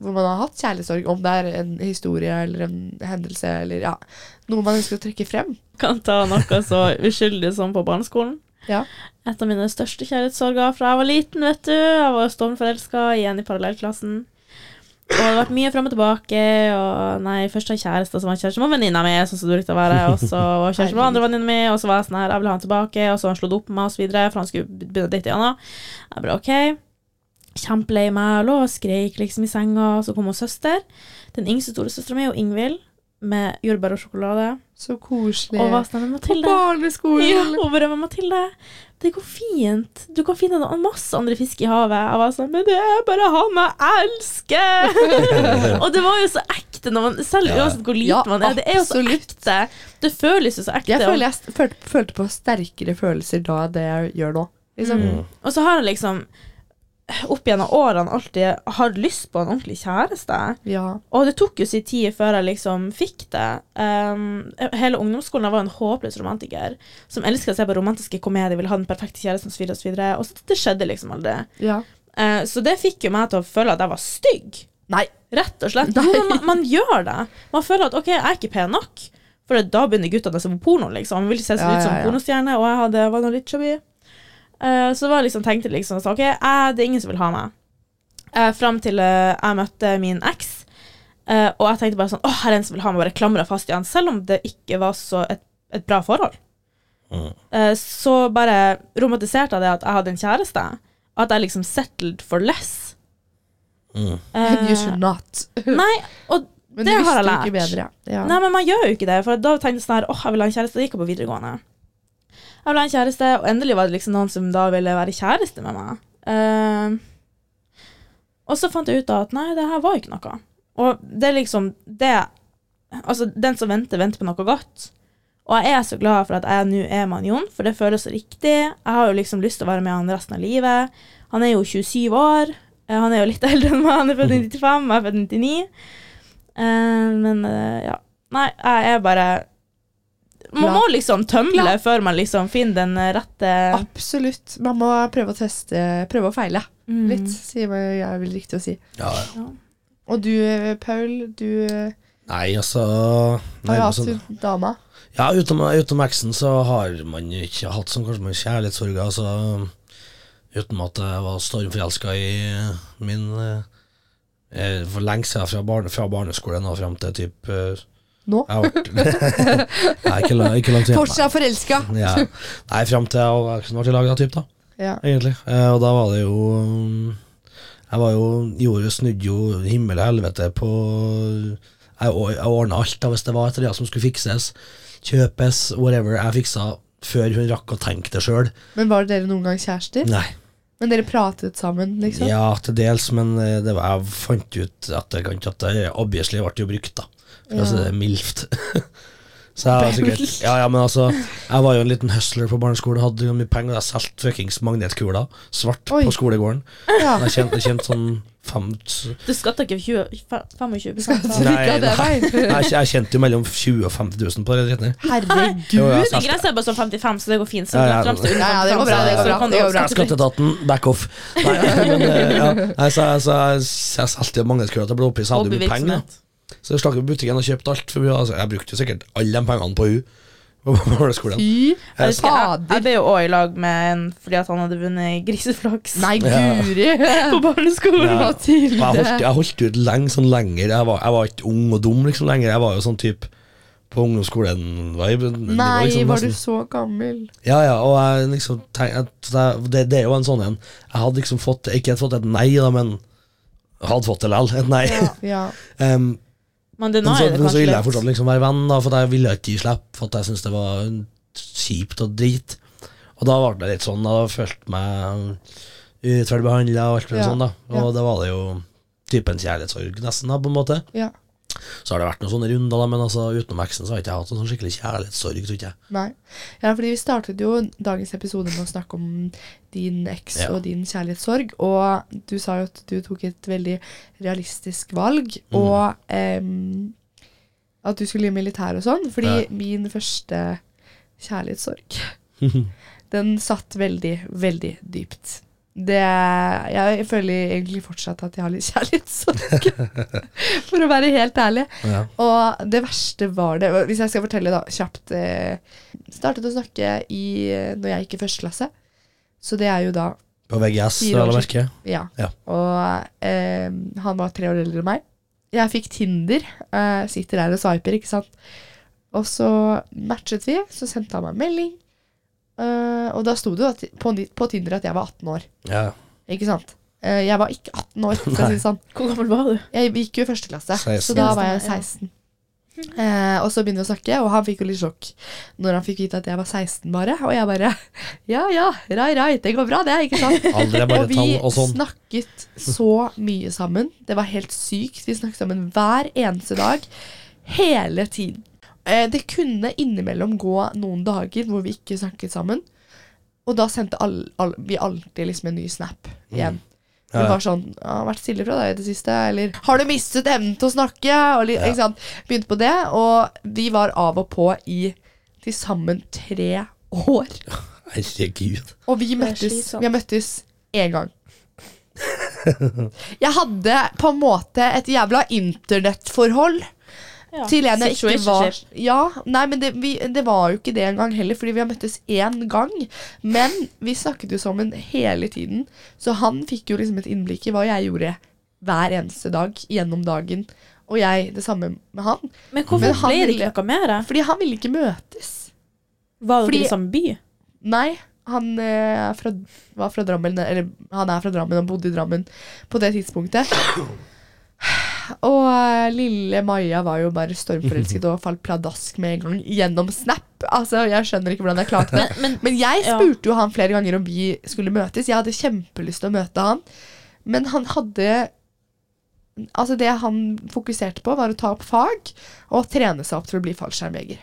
[SPEAKER 1] hvor man har hatt kjærlighetssorg, om det er en historie eller en hendelse eller ja, noe man ønsker å trekke frem.
[SPEAKER 3] Kan ta noe så uskyldig som på barneskolen.
[SPEAKER 1] Ja.
[SPEAKER 3] Et av mine største kjærlighetssorger fra jeg var liten, vet du. Jeg var stormforelska igjen i parallellklassen. Og det har vært mye frem og tilbake. Og nei, først har kjæreste som var kjæreste med venninna mi, sånn som du likte å være. Og så var kjæreste med andre venninna mi, og så var jeg sånn her, jeg vil ha han tilbake. Og så han slått opp med meg, og så videre, for han skulle begynne å date Anna. Jeg bare OK. Kjempelei meg. Jeg lå og skreik liksom i senga, og så kom hun søster. Den yngste storesøstera mi, Ingvild, med jordbær og sjokolade.
[SPEAKER 1] Så koselig.
[SPEAKER 3] Og var sånn her,
[SPEAKER 1] på
[SPEAKER 3] Mathilde. Ja,
[SPEAKER 1] barneskolen!
[SPEAKER 3] og bare med Mathilde. Det går fint. Du kan finne noen- masse andre fisk i havet. Jeg var sånn, men det er bare han jeg
[SPEAKER 2] Mm,
[SPEAKER 3] elsker! og det var jo så ekte, når man, selv
[SPEAKER 2] Ja.
[SPEAKER 3] uansett hvor liten
[SPEAKER 1] Ja,
[SPEAKER 3] man er. Det er jo så
[SPEAKER 1] absolutt.
[SPEAKER 3] ekte. Det føles jo så ekte.
[SPEAKER 1] Jeg
[SPEAKER 3] og-
[SPEAKER 1] føler jeg s- følte, følte på sterkere følelser da enn det jeg gjør nå. Liksom.
[SPEAKER 3] Mm. Og så har han liksom opp gjennom årene alltid hatt lyst på en ordentlig kjæreste.
[SPEAKER 1] Ja.
[SPEAKER 3] Og det tok jo sin tid før jeg liksom fikk det. Um, hele ungdomsskolen jeg var en håpløs romantiker som elska å se på romantiske komedier, ville ha den perfekte kjæresten osv. Og, så videre, og så det skjedde liksom aldri.
[SPEAKER 1] ja.
[SPEAKER 3] Eh, så det fikk jo meg til å føle at jeg var stygg.
[SPEAKER 1] Nei.
[SPEAKER 3] Rett og slett.
[SPEAKER 1] Nei.
[SPEAKER 3] Jo, men man, man gjør det. Man føler at OK, jeg er ikke pen nok. For da begynner guttene å se på porno, liksom. Man vil se
[SPEAKER 1] Ja,
[SPEAKER 3] ut som
[SPEAKER 1] ja, ja.
[SPEAKER 3] pornostjerne, og jeg hadde, var nå litt chubby. Eh, så det var liksom, tenkte liksom så, OK, jeg- det er ingen som vil ha meg. Uh, Fram til eh, jeg møtte min eks. Eh, og jeg tenkte bare sånn Å, her er en som vil ha meg, bare klamra fast i han. Selv om det ikke var så et, et bra forhold.
[SPEAKER 2] Mm.
[SPEAKER 3] Eh, så bare romantiserte jeg det at jeg hadde en kjæreste. At jeg liksom settled for less.
[SPEAKER 2] Mm.
[SPEAKER 1] And you
[SPEAKER 3] Eh,
[SPEAKER 1] should not.
[SPEAKER 3] nei, og
[SPEAKER 1] Men
[SPEAKER 3] Det
[SPEAKER 1] du visste
[SPEAKER 3] har jeg
[SPEAKER 1] jo Ikke
[SPEAKER 3] lært.
[SPEAKER 1] bedre, ja.
[SPEAKER 3] Nei, men man gjør jo ikke det. For da tenkte jeg sånn her Åh, jeg vil ha en kjæreste. Det gikk jo på videregående. Jeg vil ha en kjæreste, og endelig var det liksom noen som da ville være kjæreste med meg. Eh, og så fant jeg ut da at nei, det her var ikke noe. Og det er liksom det Altså, den som venter, venter på noe godt. Og jeg er så glad for at jeg nå er med han Jon, for det føles så riktig. Jeg har jo liksom lyst til å være med han resten av livet. Han er jo 27 år. Eh, Han er jo litt eldre enn meg. Han er født i 95, jeg er født i 99. Eh, men eh, ja. Nei, jeg er bare Man
[SPEAKER 1] Glad.
[SPEAKER 3] må liksom tømle
[SPEAKER 1] Glad.
[SPEAKER 3] før man liksom finner den eh, rette
[SPEAKER 1] Absolutt. Man må prøve å teste, prøve å feile
[SPEAKER 3] Mm.
[SPEAKER 1] litt, sier man jeg er vel riktig å si.
[SPEAKER 2] Ja, ja.
[SPEAKER 1] Og du, Paul, du eh,
[SPEAKER 2] Nei, altså
[SPEAKER 1] har jo
[SPEAKER 2] nei, men
[SPEAKER 1] hatt
[SPEAKER 2] sånn-
[SPEAKER 1] hun dama.
[SPEAKER 2] Ja, utenom, utenom eksen så har man jo ikke hatt sånn kanskje man kjærlighetssorger, altså utenom at jeg var stormforelska i min eh, eh, For lenge siden, fra, barne, fra barneskolen og fram til typ eh,
[SPEAKER 1] Nå?
[SPEAKER 2] Jeg har vært Nei, ikke, la- ikke langt igjen.
[SPEAKER 1] Fortsatt forelska!
[SPEAKER 2] Nei, ja. Nei fram til jeg og eksen var i lag, da, typ, da,
[SPEAKER 1] Ja.
[SPEAKER 2] egentlig. Eh, og da var det jo mm, Jeg var jo Jordet snudde jo himmel og helvete på Jeg, or- jeg ordna alt, da, hvis det var et eller annet som skulle fikses. Kjøpes, whatever. Jeg fiksa før hun rakk å tenke det sjøl.
[SPEAKER 1] Men var dere noen gang kjærester?
[SPEAKER 2] Nei.
[SPEAKER 1] Men dere pratet sammen, liksom?
[SPEAKER 2] Ja, til dels, men eh, det var, jeg fant ut i etterkant at det obviously ble jo brukt, da. For å si altså, det mildt. Så jeg var sikkert Ja, ja, men altså, jeg var jo en liten hustler på barneskolen, hadde jo mye penger, og jeg solgte fuckings magnetkuler, svart,
[SPEAKER 1] Oi.
[SPEAKER 2] på skolegården.
[SPEAKER 1] Ja.
[SPEAKER 2] Jeg tjente, jeg tjente sånn fem
[SPEAKER 3] Du skatter ikke 20, 25 av
[SPEAKER 1] Så
[SPEAKER 2] Nei,
[SPEAKER 1] gikk jeg det
[SPEAKER 2] nei.
[SPEAKER 1] veien.
[SPEAKER 2] Nei, Jeg tjente jo mellom 20 og 50 000 på det dritten her. Jo,
[SPEAKER 1] Herregud!
[SPEAKER 2] jeg
[SPEAKER 3] Men
[SPEAKER 2] solgte-
[SPEAKER 3] Grensa er bare sånn 55, så det går fint. Så
[SPEAKER 2] Ja,
[SPEAKER 3] det
[SPEAKER 2] ja.
[SPEAKER 3] fremstår under
[SPEAKER 1] Ja, ja, det går bra,
[SPEAKER 3] 55,
[SPEAKER 1] det går
[SPEAKER 3] så
[SPEAKER 1] bra,
[SPEAKER 3] kan
[SPEAKER 1] det
[SPEAKER 3] du
[SPEAKER 1] går bra.
[SPEAKER 3] skatte fritt.
[SPEAKER 2] Skatteetaten, back off. Nei, men, eh, ja. Nei, så jeg- så jeg jeg solgte jo magnetkuler til blodpris, jeg hadde jo mye penger. da.
[SPEAKER 3] Hobbyvirksomhet.
[SPEAKER 2] Så jeg stakk på butikken og kjøpte alt. For vi, altså, jeg brukte jo sikkert alle de pengene på hun på barneskolen.
[SPEAKER 1] Fy
[SPEAKER 3] Jeg, husker jeg, jeg
[SPEAKER 1] fader.
[SPEAKER 3] ble jo òg i lag med en fordi at han hadde vunnet griseflaks
[SPEAKER 1] Nei,
[SPEAKER 2] Ja.
[SPEAKER 1] guri!
[SPEAKER 3] på barneskolen.
[SPEAKER 2] Ja. Og Jeg holdt,
[SPEAKER 1] Mathilde.
[SPEAKER 2] jeg holdt ut lenge, sånn lenger. Jeg var, jeg var ikke ung og dum liksom lenger. Jeg var jo sånn type på ungdomsskolen-vibe. Det var
[SPEAKER 1] Nei,
[SPEAKER 2] liksom
[SPEAKER 1] var du
[SPEAKER 2] nesten-
[SPEAKER 1] så gammel?
[SPEAKER 2] Ja, ja, og jeg liksom tenk, at det, det, det er jo en sånn en. Jeg hadde liksom fått Ikke fått et nei, da, men hadde fått det likevel. Et nei.
[SPEAKER 1] Ja.
[SPEAKER 2] Em,
[SPEAKER 3] Men det, nå
[SPEAKER 2] men så,
[SPEAKER 3] er det
[SPEAKER 2] men så
[SPEAKER 3] kanskje
[SPEAKER 2] ville jeg fortsatt
[SPEAKER 3] litt
[SPEAKER 2] liksom være venn, da, for jeg ville ikke gi slipp. For at jeg syntes det var kjipt og drit. Og da ble det litt sånn, da følte jeg meg urettferdig behandla og alt mulig
[SPEAKER 1] Ja,
[SPEAKER 2] sånn, da. Og
[SPEAKER 1] ja.
[SPEAKER 2] da var det jo typen kjærlighetssorg, nesten, da, på en måte.
[SPEAKER 1] Ja.
[SPEAKER 2] Så har det vært noen sånne runder, da, men altså, utenom eksen så har jeg ikke hatt en sånn skikkelig kjærlighetssorg, tror ikke jeg.
[SPEAKER 1] Nei. Ja, fordi vi startet jo dagens episode med å snakke om din eks
[SPEAKER 2] Ja.
[SPEAKER 1] og din kjærlighetssorg. Og du sa jo at du tok et veldig realistisk valg,
[SPEAKER 2] Mhm.
[SPEAKER 1] og em, at du skulle i militær og sånn. Fordi
[SPEAKER 2] Ja.
[SPEAKER 1] min første kjærlighetssorg, den satt veldig, veldig dypt. Det, jeg føler egentlig fortsatt at jeg har litt kjærlighetssorg, for å være helt ærlig.
[SPEAKER 2] Ja.
[SPEAKER 1] Og det verste var det Hvis jeg skal fortelle da, kjapt eh, Startet å snakke i, eh, når jeg gikk i første klasse. Så det er jo da
[SPEAKER 2] På VGS,
[SPEAKER 1] Fire år
[SPEAKER 2] vel å merke.
[SPEAKER 1] Ja.
[SPEAKER 2] Ja.
[SPEAKER 1] Og eh, han var tre år eldre enn meg. Jeg fikk Tinder. Eh, sitter der og sveiper, ikke sant. Og så matchet vi, så sendte han meg en melding. Eh, og da sto det jo at, på, på Tinder at jeg var 18 år.
[SPEAKER 2] Ja.
[SPEAKER 1] Ikke sant? Eh, jeg var ikke 18 år, for å si det sånn.
[SPEAKER 3] Hvor gammel var du?
[SPEAKER 1] Jeg gikk jo i første klasse,
[SPEAKER 2] 16.
[SPEAKER 1] så da var jeg
[SPEAKER 3] Ja.
[SPEAKER 1] 16. Eh, og så begynner vi å snakke, og han fikk jo litt sjokk når han fikk vite at jeg var 16 bare. Og jeg bare Ja ja, rai rai, det går bra det, ikke sant?
[SPEAKER 2] Aldri bare
[SPEAKER 1] Og vi
[SPEAKER 2] tall og sånn.
[SPEAKER 1] snakket så mye sammen. Det var helt sykt. Vi snakket sammen hver eneste dag. Hele tiden. Eh, Det kunne innimellom gå noen dager hvor vi ikke snakket sammen. Og da sendte all, all, vi alltid liksom en ny snap igjen.
[SPEAKER 2] Ja,
[SPEAKER 1] Det
[SPEAKER 2] Mm. ja.
[SPEAKER 1] var sånn «Ja, 'Har vært stille fra deg i det siste?' Eller 'Har du mistet evnen til å snakke?' Og, li-
[SPEAKER 2] Ja.
[SPEAKER 1] ikke sant? Begynte på det, og vi var av og på i til sammen tre år.
[SPEAKER 2] Herregud.
[SPEAKER 1] Og vi
[SPEAKER 3] er
[SPEAKER 1] møttes,
[SPEAKER 3] slitsomt.
[SPEAKER 1] vi møttes én gang. Jeg hadde på en måte et jævla internettforhold
[SPEAKER 3] Ja.
[SPEAKER 1] til en jeg ikke var
[SPEAKER 3] Situationship.
[SPEAKER 1] Ja, nei, men det, vi, det var jo ikke det engang heller, fordi vi har møttes én gang. Men vi snakket jo sammen hele tiden, så han fikk jo liksom et innblikk i hva jeg gjorde hver eneste dag gjennom dagen. Og jeg det samme med han.
[SPEAKER 3] Men hvorfor
[SPEAKER 1] Men han
[SPEAKER 3] ble det ikke
[SPEAKER 1] ville-
[SPEAKER 3] noe mer? da?
[SPEAKER 1] Fordi han ville ikke møtes.
[SPEAKER 3] Var dere
[SPEAKER 1] Fordi-
[SPEAKER 3] i samme by?
[SPEAKER 1] Nei, han eh, er fra, var fra Drammen, eller han er fra Drammen og bodde i Drammen på det tidspunktet. Og eh, lille Maja var jo bare stormforelsket og falt pladask med en gang gjennom Snap. Altså, Jeg skjønner ikke hvordan jeg klarte det.
[SPEAKER 3] Men, men
[SPEAKER 1] Men jeg
[SPEAKER 3] Ja.
[SPEAKER 1] spurte jo han flere ganger om vi skulle møtes. Jeg hadde kjempelyst til å møte han, men han hadde Altså, det han fokuserte på, var å ta opp fag og trene seg opp til å bli fallskjermjeger.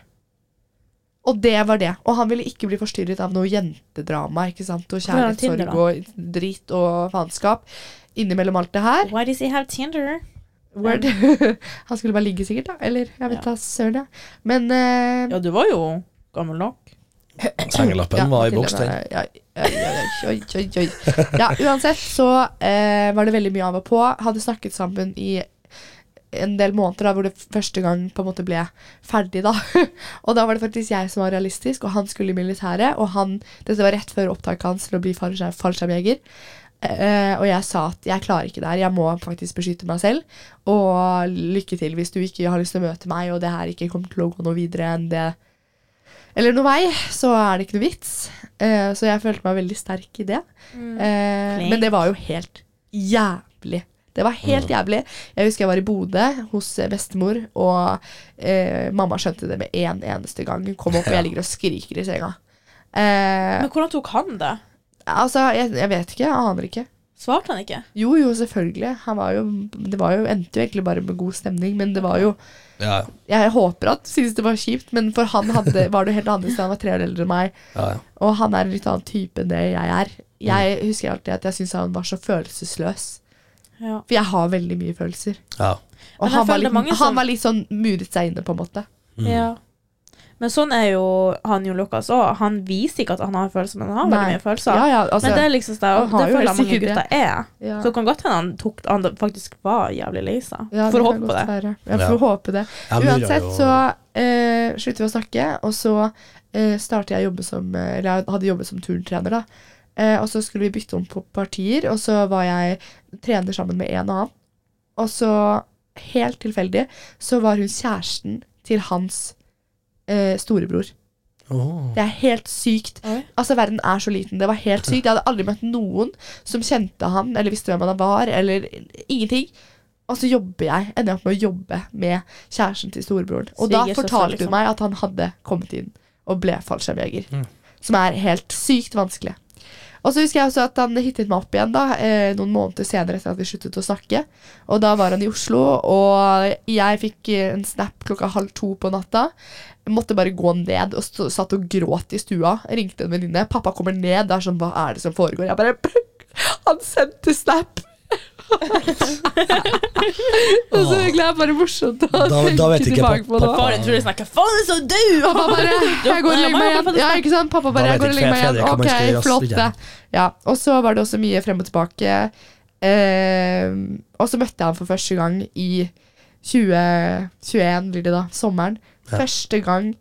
[SPEAKER 1] Og det var det. Og han ville ikke bli forstyrret av noe jentedrama ikke sant? og
[SPEAKER 3] Hvordan er det Tinder,
[SPEAKER 1] kjærlighetssorg og drit og faenskap innimellom alt det her.
[SPEAKER 3] why does he have Tinder?
[SPEAKER 1] Word. han skulle bare ligge, sikkert, da. Eller jeg vet
[SPEAKER 3] Ja.
[SPEAKER 1] da søren, ja. Men eh,
[SPEAKER 3] Ja, du var jo gammel nok.
[SPEAKER 2] Sengelappen
[SPEAKER 1] Ja,
[SPEAKER 2] var i
[SPEAKER 1] Mathilde
[SPEAKER 2] boks, den.
[SPEAKER 1] var- ja, oi, oi, oi, oi, oi. Ja, uansett så eh, var det veldig mye av og på. Hadde snakket sammen i en del måneder, da, hvor det første gang på en måte ble ferdig. da. Og da var det faktisk jeg som var realistisk, og han skulle i militæret. Og han, dette var rett før opptaket hans til å bli fallskjerm- fallskjermjeger. Eh, og jeg sa at jeg klarer ikke det her, jeg må faktisk beskytte meg selv. Og lykke til hvis du ikke har lyst til å møte meg, og det her ikke kommer til å gå noe videre enn det Eller noe vei, så er det ikke noe vits. Eh, så jeg følte meg veldig sterk i det. Eh,
[SPEAKER 3] Flink.
[SPEAKER 1] men det var jo helt jævlig. Det var helt jævlig. Jeg husker jeg var i Bodø hos eh, bestemor, og eh, mamma skjønte det med en eneste gang. Hun kom opp, og jeg ligger og skriker i senga. Eh,
[SPEAKER 3] Men hvordan tok han det?
[SPEAKER 1] altså, jeg, jeg vet ikke. Jeg aner ikke.
[SPEAKER 3] Svarte han ikke?
[SPEAKER 1] Jo, jo, selvfølgelig. Han var jo, det var jo, endte jo egentlig bare med god stemning, men det var jo
[SPEAKER 2] Ja,
[SPEAKER 1] Jeg håper at han syntes det var kjipt, men for han hadde, var det jo helt annerledes. Han var tre år eldre enn meg,
[SPEAKER 2] ja, ja.
[SPEAKER 1] og han er en litt annen type enn det jeg er. Jeg
[SPEAKER 3] Mm.
[SPEAKER 1] husker alltid at jeg syntes han var så følelsesløs.
[SPEAKER 3] Ja.
[SPEAKER 1] For jeg har veldig mye følelser.
[SPEAKER 2] ja.
[SPEAKER 1] Og
[SPEAKER 3] Men jeg
[SPEAKER 1] han var,
[SPEAKER 3] føler det er
[SPEAKER 1] litt,
[SPEAKER 3] mange som-
[SPEAKER 1] han var litt sånn muret seg inne, på en måte.
[SPEAKER 2] Mm.
[SPEAKER 3] ja. Men sånn er jo han Jon Lukas òg. Han viser ikke at han har følelser, men han har veldig
[SPEAKER 1] Nei.
[SPEAKER 3] mye følelser.
[SPEAKER 1] ja, ja, altså,
[SPEAKER 3] men det er liksom det,
[SPEAKER 1] han har
[SPEAKER 3] det
[SPEAKER 1] jo helt
[SPEAKER 3] føler jeg mange
[SPEAKER 1] sikkert
[SPEAKER 3] gutter er.
[SPEAKER 1] ja.
[SPEAKER 3] Så det kan godt hende han, tok, han faktisk var jævlig lei seg.
[SPEAKER 1] Ja,
[SPEAKER 3] For å
[SPEAKER 1] kan
[SPEAKER 3] håpe på
[SPEAKER 1] godt
[SPEAKER 3] det.
[SPEAKER 1] være. Ja, for å håpe det.
[SPEAKER 2] Jeg murra
[SPEAKER 1] Uansett
[SPEAKER 2] jo-
[SPEAKER 1] så eh, slutter vi å snakke, og så eh, startet jeg å jobbe som eh, Eller jeg hadde jobbet som turntrener, da. Eh, og så skulle vi bytte om på partier, og så var jeg trener sammen med en annen. Og så, helt tilfeldig, så var hun kjæresten til hans eh, storebror.
[SPEAKER 2] Åh.
[SPEAKER 1] Det er helt sykt.
[SPEAKER 3] Oi.
[SPEAKER 1] Altså, verden er så liten. Det var helt sykt. Jeg hadde aldri møtt noen som kjente han, eller visste hvem han var, eller ingenting. Og så jobber jeg, ender jeg opp med å jobbe med kjæresten til storebroren. Og da
[SPEAKER 3] Svigersøster,
[SPEAKER 1] fortalte
[SPEAKER 3] liksom.
[SPEAKER 1] hun meg at han hadde kommet inn og ble fallskjermjeger.
[SPEAKER 2] Mm.
[SPEAKER 1] Som er helt sykt vanskelig. Og så husker jeg også at han hittet meg opp igjen da, eh, noen måneder senere etter at vi sluttet å snakke. Og da var han i Oslo, og jeg fikk eh, en snap klokka halv to på natta. Jeg måtte bare gå ned og stå, satt og gråt i stua. Ringte en venninne. 'Pappa kommer ned.' Det er sånn 'Hva er det som foregår?' Jeg bare Han sendte snap! det er så hyggelig. Det er bare morsomt å
[SPEAKER 2] Da- da
[SPEAKER 1] tenke
[SPEAKER 2] vet ikke
[SPEAKER 1] tilbake
[SPEAKER 2] pa-
[SPEAKER 1] på nå.
[SPEAKER 2] pappa-
[SPEAKER 3] Faren din tror jeg snakker Faen, så dau!
[SPEAKER 1] Pappa bare 'Jeg går og legger meg igjen'. Ja, ikke sant? Pappa bare
[SPEAKER 2] Da
[SPEAKER 1] 'Jeg går og
[SPEAKER 2] vet
[SPEAKER 1] legger
[SPEAKER 2] ikke
[SPEAKER 1] meg igjen'.
[SPEAKER 2] Fredrik hva man skal gjøre,
[SPEAKER 1] Ok,
[SPEAKER 2] ass,
[SPEAKER 1] flott,
[SPEAKER 2] videre.
[SPEAKER 1] det. Ja, og så var det også mye frem og tilbake. Eh, og så møtte jeg ham for første gang i 2021, blir det da. Sommeren.
[SPEAKER 2] Ja.
[SPEAKER 1] Første gang.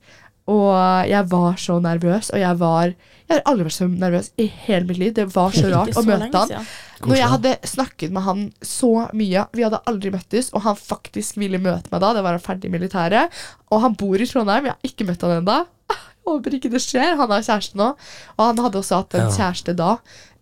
[SPEAKER 1] Og jeg var så nervøs, og jeg var Jeg har aldri vært så nervøs i hele mitt liv. Det var så rart å møte han. Når jeg hadde snakket med han så mye Vi hadde aldri møttes, og han faktisk ville møte meg da. Det var han ferdig i militæret. Og han bor i Trondheim. Jeg har ikke møtt han ennå. Håper ikke det skjer. Han har kjæreste nå. Og han hadde også hatt en
[SPEAKER 2] Ja.
[SPEAKER 1] kjæreste da,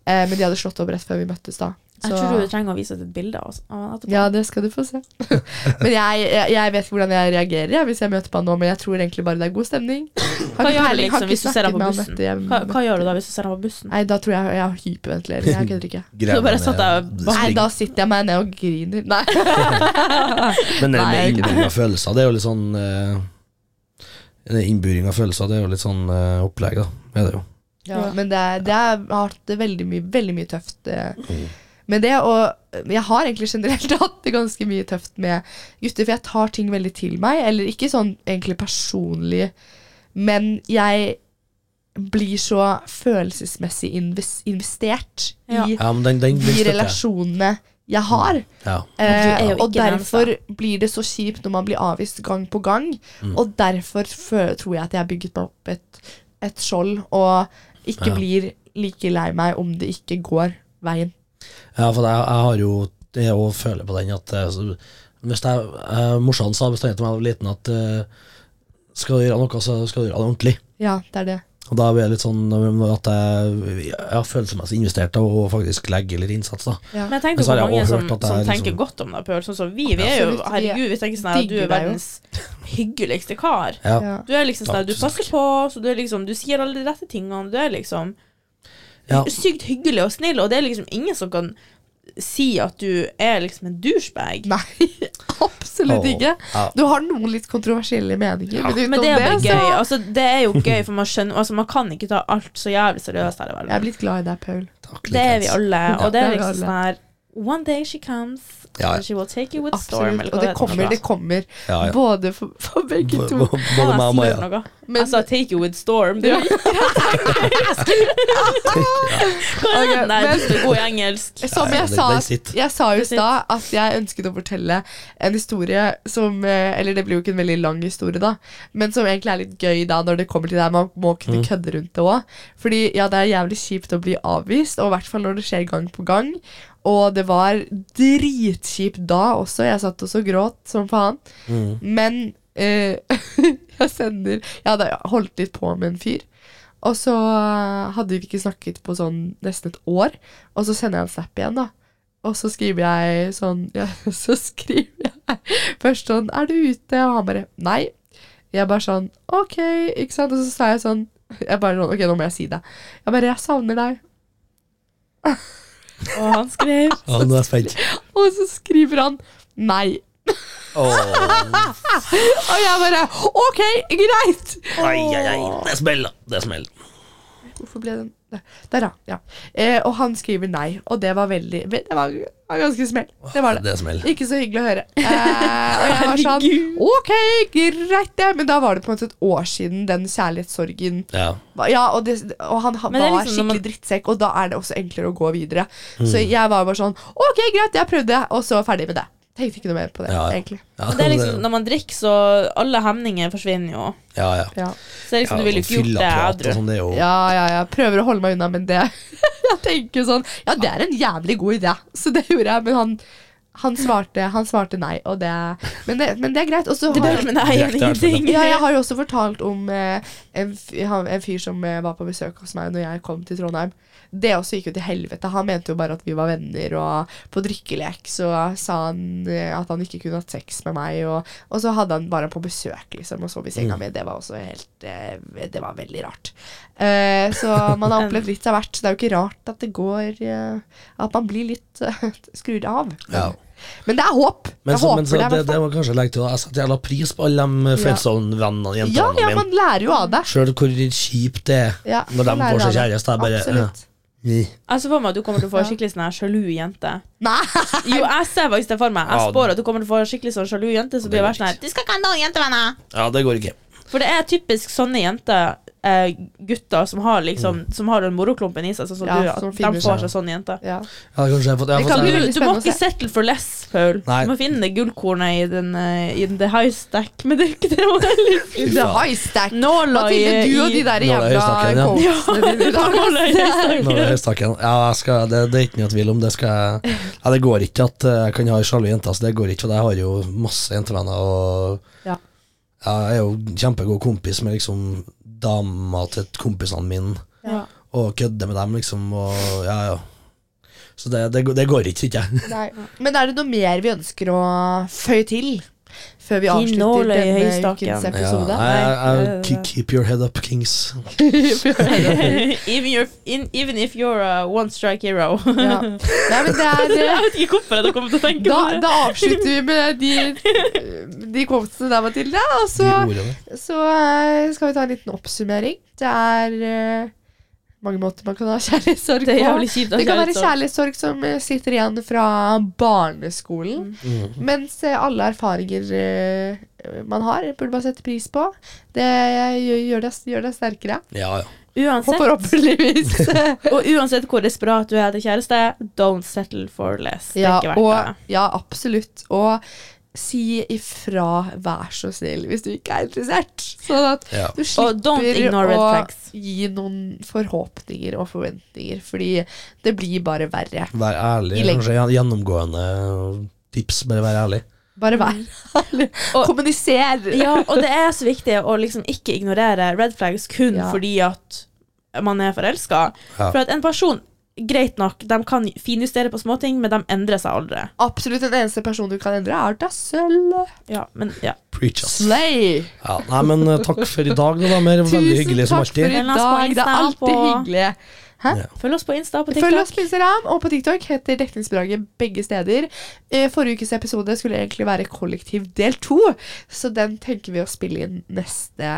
[SPEAKER 1] eh, men de hadde slått opp rett før vi møttes da.
[SPEAKER 3] Jeg
[SPEAKER 1] Så-
[SPEAKER 3] tror du trenger å vise oss et bilde av oss. av han etterpå.
[SPEAKER 1] ja, det skal du få se. men jeg, jeg, jeg vet ikke hvordan jeg reagerer jeg, hvis jeg møter på han nå, men jeg tror egentlig bare det er god stemning. Har
[SPEAKER 3] Hva
[SPEAKER 1] ikke peiling,
[SPEAKER 3] gjør du
[SPEAKER 1] har
[SPEAKER 3] liksom
[SPEAKER 1] ikke
[SPEAKER 3] hvis du ser
[SPEAKER 1] snakket
[SPEAKER 3] ham på
[SPEAKER 1] med han
[SPEAKER 3] bussen?
[SPEAKER 1] etter jeg
[SPEAKER 3] Hva, hva
[SPEAKER 1] møtte-
[SPEAKER 3] gjør du da hvis du ser ham på bussen?
[SPEAKER 1] Nei, da tror jeg jeg har hyperventilering. Jeg kødder ikke.
[SPEAKER 3] Du bare satt der og
[SPEAKER 1] Nei,
[SPEAKER 2] Nei,
[SPEAKER 1] da sitter jeg meg ned og griner. Nei.
[SPEAKER 2] Men det
[SPEAKER 1] Nei,
[SPEAKER 2] med
[SPEAKER 1] jeg-
[SPEAKER 2] innburing av følelser, det er jo litt sånn eh, det er Innburing av følelser, det er jo litt sånn eh, opplegg, da. Er det jo.
[SPEAKER 1] Ja,
[SPEAKER 3] Ja.
[SPEAKER 1] men det, er- det er- jeg har hatt det veldig mye, veldig mye tøft eh,
[SPEAKER 2] Mm.
[SPEAKER 1] med det. Og jeg har egentlig generelt hatt det ganske mye tøft med gutter, for jeg tar ting veldig til meg. Eller ikke sånn egentlig personlig, men jeg blir så følelsesmessig inves, investert
[SPEAKER 3] Ja.
[SPEAKER 1] i
[SPEAKER 2] Ja, men den, den, den
[SPEAKER 1] de
[SPEAKER 2] støtter jeg.
[SPEAKER 1] relasjonene jeg har.
[SPEAKER 2] Ja.
[SPEAKER 3] Men du er
[SPEAKER 1] Eh,
[SPEAKER 3] jo
[SPEAKER 1] og
[SPEAKER 3] ikke den
[SPEAKER 1] derfor blir det så kjipt når man blir avvist gang på gang.
[SPEAKER 2] Mm.
[SPEAKER 1] Og derfor fø- tror jeg at jeg har bygget meg opp et, et skjold, og ikke
[SPEAKER 2] Ja.
[SPEAKER 1] blir like lei meg om det ikke går veien.
[SPEAKER 2] Ja, for jeg, jeg har jo Jeg òg føler på den at eh, så- hvis jeg, eh, Morsan sa bestandig til meg da jeg var liten at eh, skal du gjøre noe, så skal du gjøre det ordentlig.
[SPEAKER 1] Ja, det er det.
[SPEAKER 2] Og da blir jeg litt sånn eh, at jeg, jeg har følelsesmessig investert og faktisk legger litt innsats, da.
[SPEAKER 1] Ja.
[SPEAKER 3] Men
[SPEAKER 2] Men
[SPEAKER 3] Altså, jeg tenker
[SPEAKER 2] så har
[SPEAKER 3] på
[SPEAKER 2] jeg
[SPEAKER 3] mange
[SPEAKER 2] også
[SPEAKER 3] som,
[SPEAKER 2] hørt at det
[SPEAKER 3] som
[SPEAKER 2] er
[SPEAKER 3] tenker
[SPEAKER 2] liksom-
[SPEAKER 3] godt om deg, Pøl. Sånn som vi. Vi er jo
[SPEAKER 1] Absolutt, vi
[SPEAKER 3] herregud, vi tenker sånn her, du
[SPEAKER 1] digger
[SPEAKER 3] er
[SPEAKER 1] deg jo.
[SPEAKER 3] verdens hyggeligste kar.
[SPEAKER 2] Ja.
[SPEAKER 1] Ja.
[SPEAKER 3] Du er liksom sånn her, du
[SPEAKER 2] Takk,
[SPEAKER 3] passer på, så du, er liksom, du sier alle de rette tingene. Du er liksom
[SPEAKER 2] Ja.
[SPEAKER 3] sykt hyggelig og snill, og det er liksom ingen som kan si at du er liksom en douchebag.
[SPEAKER 1] Nei, absolutt
[SPEAKER 2] Åh,
[SPEAKER 1] ikke.
[SPEAKER 2] ja.
[SPEAKER 1] Du har noen litt kontroversielle meninger, men utenom
[SPEAKER 3] Men det er bare
[SPEAKER 1] så
[SPEAKER 3] gøy. Altså, det er jo gøy, for man skjønner Altså, man kan ikke ta alt så jævlig seriøst her i
[SPEAKER 1] Jeg er
[SPEAKER 3] verden.
[SPEAKER 1] blitt glad i deg, Paul.
[SPEAKER 2] Takk,
[SPEAKER 3] Det er vi alle, og det
[SPEAKER 1] det er
[SPEAKER 3] er
[SPEAKER 1] vi
[SPEAKER 3] liksom
[SPEAKER 1] alle.
[SPEAKER 3] sånn her One day she comes,
[SPEAKER 2] Ja, ja.
[SPEAKER 3] and she will take you with storm.
[SPEAKER 1] Absolutt. Og det kommer, det kommer.
[SPEAKER 2] Ja, ja.
[SPEAKER 1] Både for, for begge
[SPEAKER 2] B-
[SPEAKER 1] to.
[SPEAKER 2] b- Både meg og Maja.
[SPEAKER 1] Men-
[SPEAKER 3] jeg sa Altså, 'take you with storm'. Det er jo ikke
[SPEAKER 1] Ok,
[SPEAKER 3] Nei,
[SPEAKER 1] men-
[SPEAKER 3] du er god i engelsk.
[SPEAKER 1] Som
[SPEAKER 2] Ja, ja,
[SPEAKER 1] jeg
[SPEAKER 2] den-
[SPEAKER 1] sa,
[SPEAKER 2] den sitter.
[SPEAKER 1] jeg sa jo i
[SPEAKER 3] Den sitter.
[SPEAKER 1] stad at jeg ønsket å fortelle en historie som eh, Eller det blir jo ikke en veldig lang historie, da, men som egentlig er litt gøy da når det kommer til det her. Man må kunne kødde rundt det òg. Fordi ja, det er jævlig kjipt å bli avvist, og i hvert fall når det skjer gang på gang. Og det var dritkjipt da også. Jeg satt også og gråt som faen.
[SPEAKER 2] Mm.
[SPEAKER 1] Men eh, jeg sender Jeg hadde holdt litt på med en fyr. Og så eh, hadde vi ikke snakket på sånn nesten et år. Og så sender jeg en snap igjen, da. Og så skriver jeg sånn ja, Så skriver jeg først sånn 'Er du ute?' Og han bare 'Nei'. Jeg bare sånn 'OK', ikke sant? Og så sa jeg sånn Jeg bare sånn 'OK, nå må jeg si det'. Jeg bare 'Jeg savner deg'.
[SPEAKER 3] Og han skrev
[SPEAKER 2] Ja, nå er jeg spent.
[SPEAKER 1] Og så skriver han 'Nei'.
[SPEAKER 2] Åh.
[SPEAKER 1] Og jeg bare 'OK, greit'.
[SPEAKER 2] Ai, ai, ai. Det smeller. Det smeller.
[SPEAKER 1] Hvorfor ble den Der, der ja. ja. Eh, og han skriver nei, og det var veldig ve- Det var, var ganske smell. Det var det.
[SPEAKER 2] Det smeller.
[SPEAKER 1] Ikke så hyggelig å høre. Eh, og jeg var sånn
[SPEAKER 3] Herregud.
[SPEAKER 1] Ok, greit det. Men da var det på en måte et år siden den kjærlighetssorgen
[SPEAKER 2] Ja.
[SPEAKER 1] var- Ja, og, det, og han ha-
[SPEAKER 3] Men det er
[SPEAKER 1] var
[SPEAKER 3] liksom når
[SPEAKER 1] skikkelig
[SPEAKER 3] man-
[SPEAKER 1] drittsekk, og da er det også enklere å gå videre.
[SPEAKER 2] Mm.
[SPEAKER 1] Så jeg var bare sånn Ok, greit, jeg prøvde, og så ferdig med det. Tenkte ikke noe mer på det,
[SPEAKER 2] Ja, ja.
[SPEAKER 1] egentlig.
[SPEAKER 2] Ja,
[SPEAKER 3] Men det er liksom, Når man drikker, så alle hemninger forsvinner jo.
[SPEAKER 2] ja, ja.
[SPEAKER 1] Ja.
[SPEAKER 3] Så det er liksom, du vil jo ikke gjort det
[SPEAKER 2] Fyllaprat og
[SPEAKER 3] edru.
[SPEAKER 2] sånn, det er jo
[SPEAKER 1] ja, ja, ja. Prøver å holde meg unna, men det Jeg tenker sånn Ja, det er en jævlig god idé, så det gjorde jeg, men han Han svarte, han svarte nei, og det Men det, men det er greit. Og så
[SPEAKER 3] Det
[SPEAKER 1] har-
[SPEAKER 3] bør men nei,
[SPEAKER 2] Direkte, i hvert fall.
[SPEAKER 3] ingenting.
[SPEAKER 1] ja, jeg har jo også fortalt om eh, en, fyr, han- en fyr som eh, var på besøk hos meg når jeg kom til Trondheim. Det også gikk jo til helvete. Han mente jo bare at vi var venner, og på drikkelek så sa han eh, at han ikke kunne hatt sex med meg, og, og så hadde han bare på besøk, liksom, og sov i senga
[SPEAKER 2] Mm.
[SPEAKER 1] mi. Det var også helt eh, Det var veldig rart. Eh, så man har opplevd litt av hvert, så det er jo ikke rart at det går eh, At man blir litt eh, skrudd av.
[SPEAKER 2] Ja.
[SPEAKER 1] Men det er håp!
[SPEAKER 2] Men,
[SPEAKER 1] Jeg
[SPEAKER 2] så,
[SPEAKER 1] håper
[SPEAKER 2] men så,
[SPEAKER 1] det, i
[SPEAKER 2] det,
[SPEAKER 1] hvert
[SPEAKER 2] det
[SPEAKER 1] fall.
[SPEAKER 2] var kanskje legge til da. Jeg setter jævla pris på alle de eh, Flintstone-vennene og
[SPEAKER 1] ja,
[SPEAKER 2] jentene
[SPEAKER 1] ja,
[SPEAKER 2] mine.
[SPEAKER 1] man lærer jo av det.
[SPEAKER 2] Sjøl hvor kjipt det er
[SPEAKER 1] Ja,
[SPEAKER 2] når de
[SPEAKER 1] man lærer
[SPEAKER 2] får
[SPEAKER 1] av
[SPEAKER 2] seg
[SPEAKER 1] det.
[SPEAKER 2] kjæreste. Jeg bare ja.
[SPEAKER 1] Absolutt.
[SPEAKER 2] Ni.
[SPEAKER 3] Jeg ser Altså, for meg at du kommer til å få
[SPEAKER 1] Ja.
[SPEAKER 3] skikkelig sånn her sjalu jente.
[SPEAKER 1] Nei!
[SPEAKER 3] Jo, jeg ser faktisk det for meg. Jeg
[SPEAKER 2] Ja,
[SPEAKER 3] spår at du kommer til å få skikkelig sånn sjalu jente som
[SPEAKER 2] Det
[SPEAKER 3] blir
[SPEAKER 2] er
[SPEAKER 3] bare sånn her
[SPEAKER 2] riktig.
[SPEAKER 3] Du skal ikke ha noen jentevenner!
[SPEAKER 2] ja, det går ikke.
[SPEAKER 3] For det er typisk sånne jenter, eh, gutter, som har liksom
[SPEAKER 2] Mm.
[SPEAKER 3] Som har den moroklumpen i seg, sånn som
[SPEAKER 1] Ja,
[SPEAKER 3] du,
[SPEAKER 1] som
[SPEAKER 3] at
[SPEAKER 1] finner
[SPEAKER 3] de får
[SPEAKER 2] seg.
[SPEAKER 3] seg sånne jenter.
[SPEAKER 1] Ja.
[SPEAKER 2] Ja, kanskje jeg har fått, jeg
[SPEAKER 1] Det
[SPEAKER 2] har
[SPEAKER 1] kan
[SPEAKER 2] fått
[SPEAKER 3] Du,
[SPEAKER 1] blir veldig
[SPEAKER 3] du må
[SPEAKER 1] spennende å
[SPEAKER 3] ikke
[SPEAKER 1] se.
[SPEAKER 3] settle for less, Paul.
[SPEAKER 2] Nei.
[SPEAKER 3] Du må finne det gullkornet i den eh, I den the high stack, men det er ikke det hun heller.
[SPEAKER 1] In the high stack.
[SPEAKER 3] Nåla i,
[SPEAKER 1] Mathilde, du og de
[SPEAKER 3] i
[SPEAKER 1] der
[SPEAKER 2] Nåla i
[SPEAKER 1] jævla
[SPEAKER 2] høystakken, ja.
[SPEAKER 1] coachene dine. da.
[SPEAKER 3] Nåla i høystakken.
[SPEAKER 2] Nå er det høystakken. Ja, jeg skal, det, det er ikke noe tvil om. Det skal jeg ja, Det går ikke at eh, jeg kan ha sjalu jenter. Så det går ikke, for jeg har jo masse jentevenner. Og
[SPEAKER 1] Ja.
[SPEAKER 2] Ja, jeg er jo kjempegod kompis med liksom dama til kompisene mine,
[SPEAKER 3] Ja.
[SPEAKER 2] og kødder med dem, liksom. Og ja, ja. Så det, det, går- det går ikke, syns jeg.
[SPEAKER 1] Nei. Men er det noe mer vi ønsker å føye til? Før vi
[SPEAKER 3] Gi nåla
[SPEAKER 1] avslutter
[SPEAKER 3] i
[SPEAKER 1] denne
[SPEAKER 3] høystakken.
[SPEAKER 1] ukens
[SPEAKER 2] Ja,
[SPEAKER 1] episode?
[SPEAKER 2] nei, jeg-
[SPEAKER 3] Nei,
[SPEAKER 2] jeg-
[SPEAKER 3] det-
[SPEAKER 2] keep your head up, kings.
[SPEAKER 3] even, your, in, even if you're a one strike hero.
[SPEAKER 1] Ja. Nei, men det er eh,
[SPEAKER 3] jeg vet ikke hvorfor jeg kom til å tenke
[SPEAKER 1] da,
[SPEAKER 3] på det.
[SPEAKER 1] da avslutter vi med de, de kompisene der, Mathilde. Og
[SPEAKER 2] De
[SPEAKER 1] så,
[SPEAKER 2] ordene.
[SPEAKER 1] så eh, skal vi ta en liten oppsummering. Det er eh, mange måter man kan ha kjærlighetssorg
[SPEAKER 3] Det er
[SPEAKER 1] på.
[SPEAKER 3] jævlig kjipt. at
[SPEAKER 1] Det kan
[SPEAKER 3] jeg er
[SPEAKER 1] være
[SPEAKER 3] litt sånn-
[SPEAKER 1] kjærlighetssorg som eh, sitter igjen fra barneskolen.
[SPEAKER 2] Mm.
[SPEAKER 1] Mens eh, alle erfaringer eh, man har, burde man sette pris på. Det gjør, gjør, deg, gjør deg sterkere.
[SPEAKER 2] Ja, ja.
[SPEAKER 1] Og
[SPEAKER 3] Uansett,
[SPEAKER 1] forhåpentligvis.
[SPEAKER 3] og uansett hvor desperat du er etter kjæreste, don't settle for less. Det er
[SPEAKER 1] ja,
[SPEAKER 3] ikke verdt det.
[SPEAKER 1] og, ja, absolutt. Og si ifra, vær så snill, hvis du ikke er interessert. Sånn at
[SPEAKER 2] ja.
[SPEAKER 1] du
[SPEAKER 3] Og don't
[SPEAKER 1] slipper
[SPEAKER 3] ignore red
[SPEAKER 1] å
[SPEAKER 3] flags.
[SPEAKER 1] gi noen forhåpninger og forventninger, fordi det blir bare verre.
[SPEAKER 2] Vær ærlig.
[SPEAKER 1] I lengden.
[SPEAKER 2] Kanskje gjen- gjennomgående tips, bare vær ærlig.
[SPEAKER 1] Bare vær ærlig.
[SPEAKER 3] Mm. Og-
[SPEAKER 1] Kommuniser.
[SPEAKER 3] Ja, og det er så viktig å liksom ikke ignorere red flags kun
[SPEAKER 1] Ja.
[SPEAKER 3] fordi at man er forelska.
[SPEAKER 2] Ja.
[SPEAKER 3] For at en person, greit nok, de kan finjustere på småting, men de endrer seg aldri.
[SPEAKER 1] Absolutt den eneste personen du kan endre, er deg selv.
[SPEAKER 3] Ja, men ja.
[SPEAKER 2] Preach us.
[SPEAKER 1] Slay!
[SPEAKER 2] Ja, nei, men eh, takk for i dag, da, damer. Veldig hyggelig som alltid.
[SPEAKER 1] Tusen takk for i dag. Det er
[SPEAKER 3] Følg oss på Insta
[SPEAKER 1] alltid
[SPEAKER 3] på-
[SPEAKER 1] hyggelig. Hæ?
[SPEAKER 2] Ja.
[SPEAKER 3] Følg oss på Insta og på
[SPEAKER 1] Følg oss
[SPEAKER 3] TikTok.
[SPEAKER 1] på Instagram og på TikTok heter Dekningsbidraget begge steder. Eh, Forrige ukes episode skulle egentlig være kollektiv del to, så den tenker vi å spille inn neste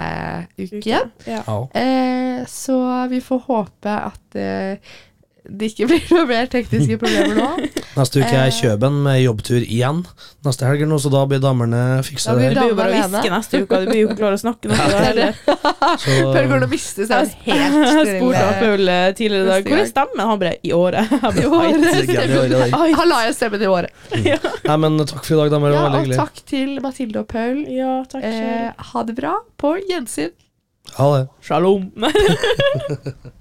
[SPEAKER 1] uke. igjen.
[SPEAKER 3] Ja.
[SPEAKER 2] Ja.
[SPEAKER 1] Eh, så vi får håpe at eh, det ikke blir noe mer tekniske problemer nå.
[SPEAKER 2] Neste uke er
[SPEAKER 1] Eh.
[SPEAKER 2] Kjøben med jobbtur igjen. Neste helg nå, så da blir damene fiksa
[SPEAKER 1] Da blir
[SPEAKER 2] der.
[SPEAKER 3] Du blir jo bare å
[SPEAKER 1] Damen alene.
[SPEAKER 3] hviske neste uke, og du blir jo ikke klar å snakke noe.
[SPEAKER 1] Det er det.
[SPEAKER 2] Så
[SPEAKER 1] Føler går det å miste seg helt
[SPEAKER 3] Jeg spurte av
[SPEAKER 1] stille.
[SPEAKER 3] Paul eh, tidligere i
[SPEAKER 1] Neste
[SPEAKER 3] dag hvor er
[SPEAKER 1] gang.
[SPEAKER 3] stemmen. Han bare I året. Jeg bare,
[SPEAKER 1] I året.
[SPEAKER 3] «Oi,
[SPEAKER 2] Det er gøy, det er gøy.
[SPEAKER 3] Oi.
[SPEAKER 1] Han la jeg stemmen i året.
[SPEAKER 2] Nei, men eh, takk for i dag, damer.
[SPEAKER 1] Ja,
[SPEAKER 2] Det var veldig
[SPEAKER 1] og
[SPEAKER 2] hyggelig.
[SPEAKER 1] takk til Mathilde og Paul.
[SPEAKER 3] Ja, takk selv.
[SPEAKER 1] Eh, ha det bra. På gjensyn.
[SPEAKER 2] Ha det.
[SPEAKER 3] Shalom.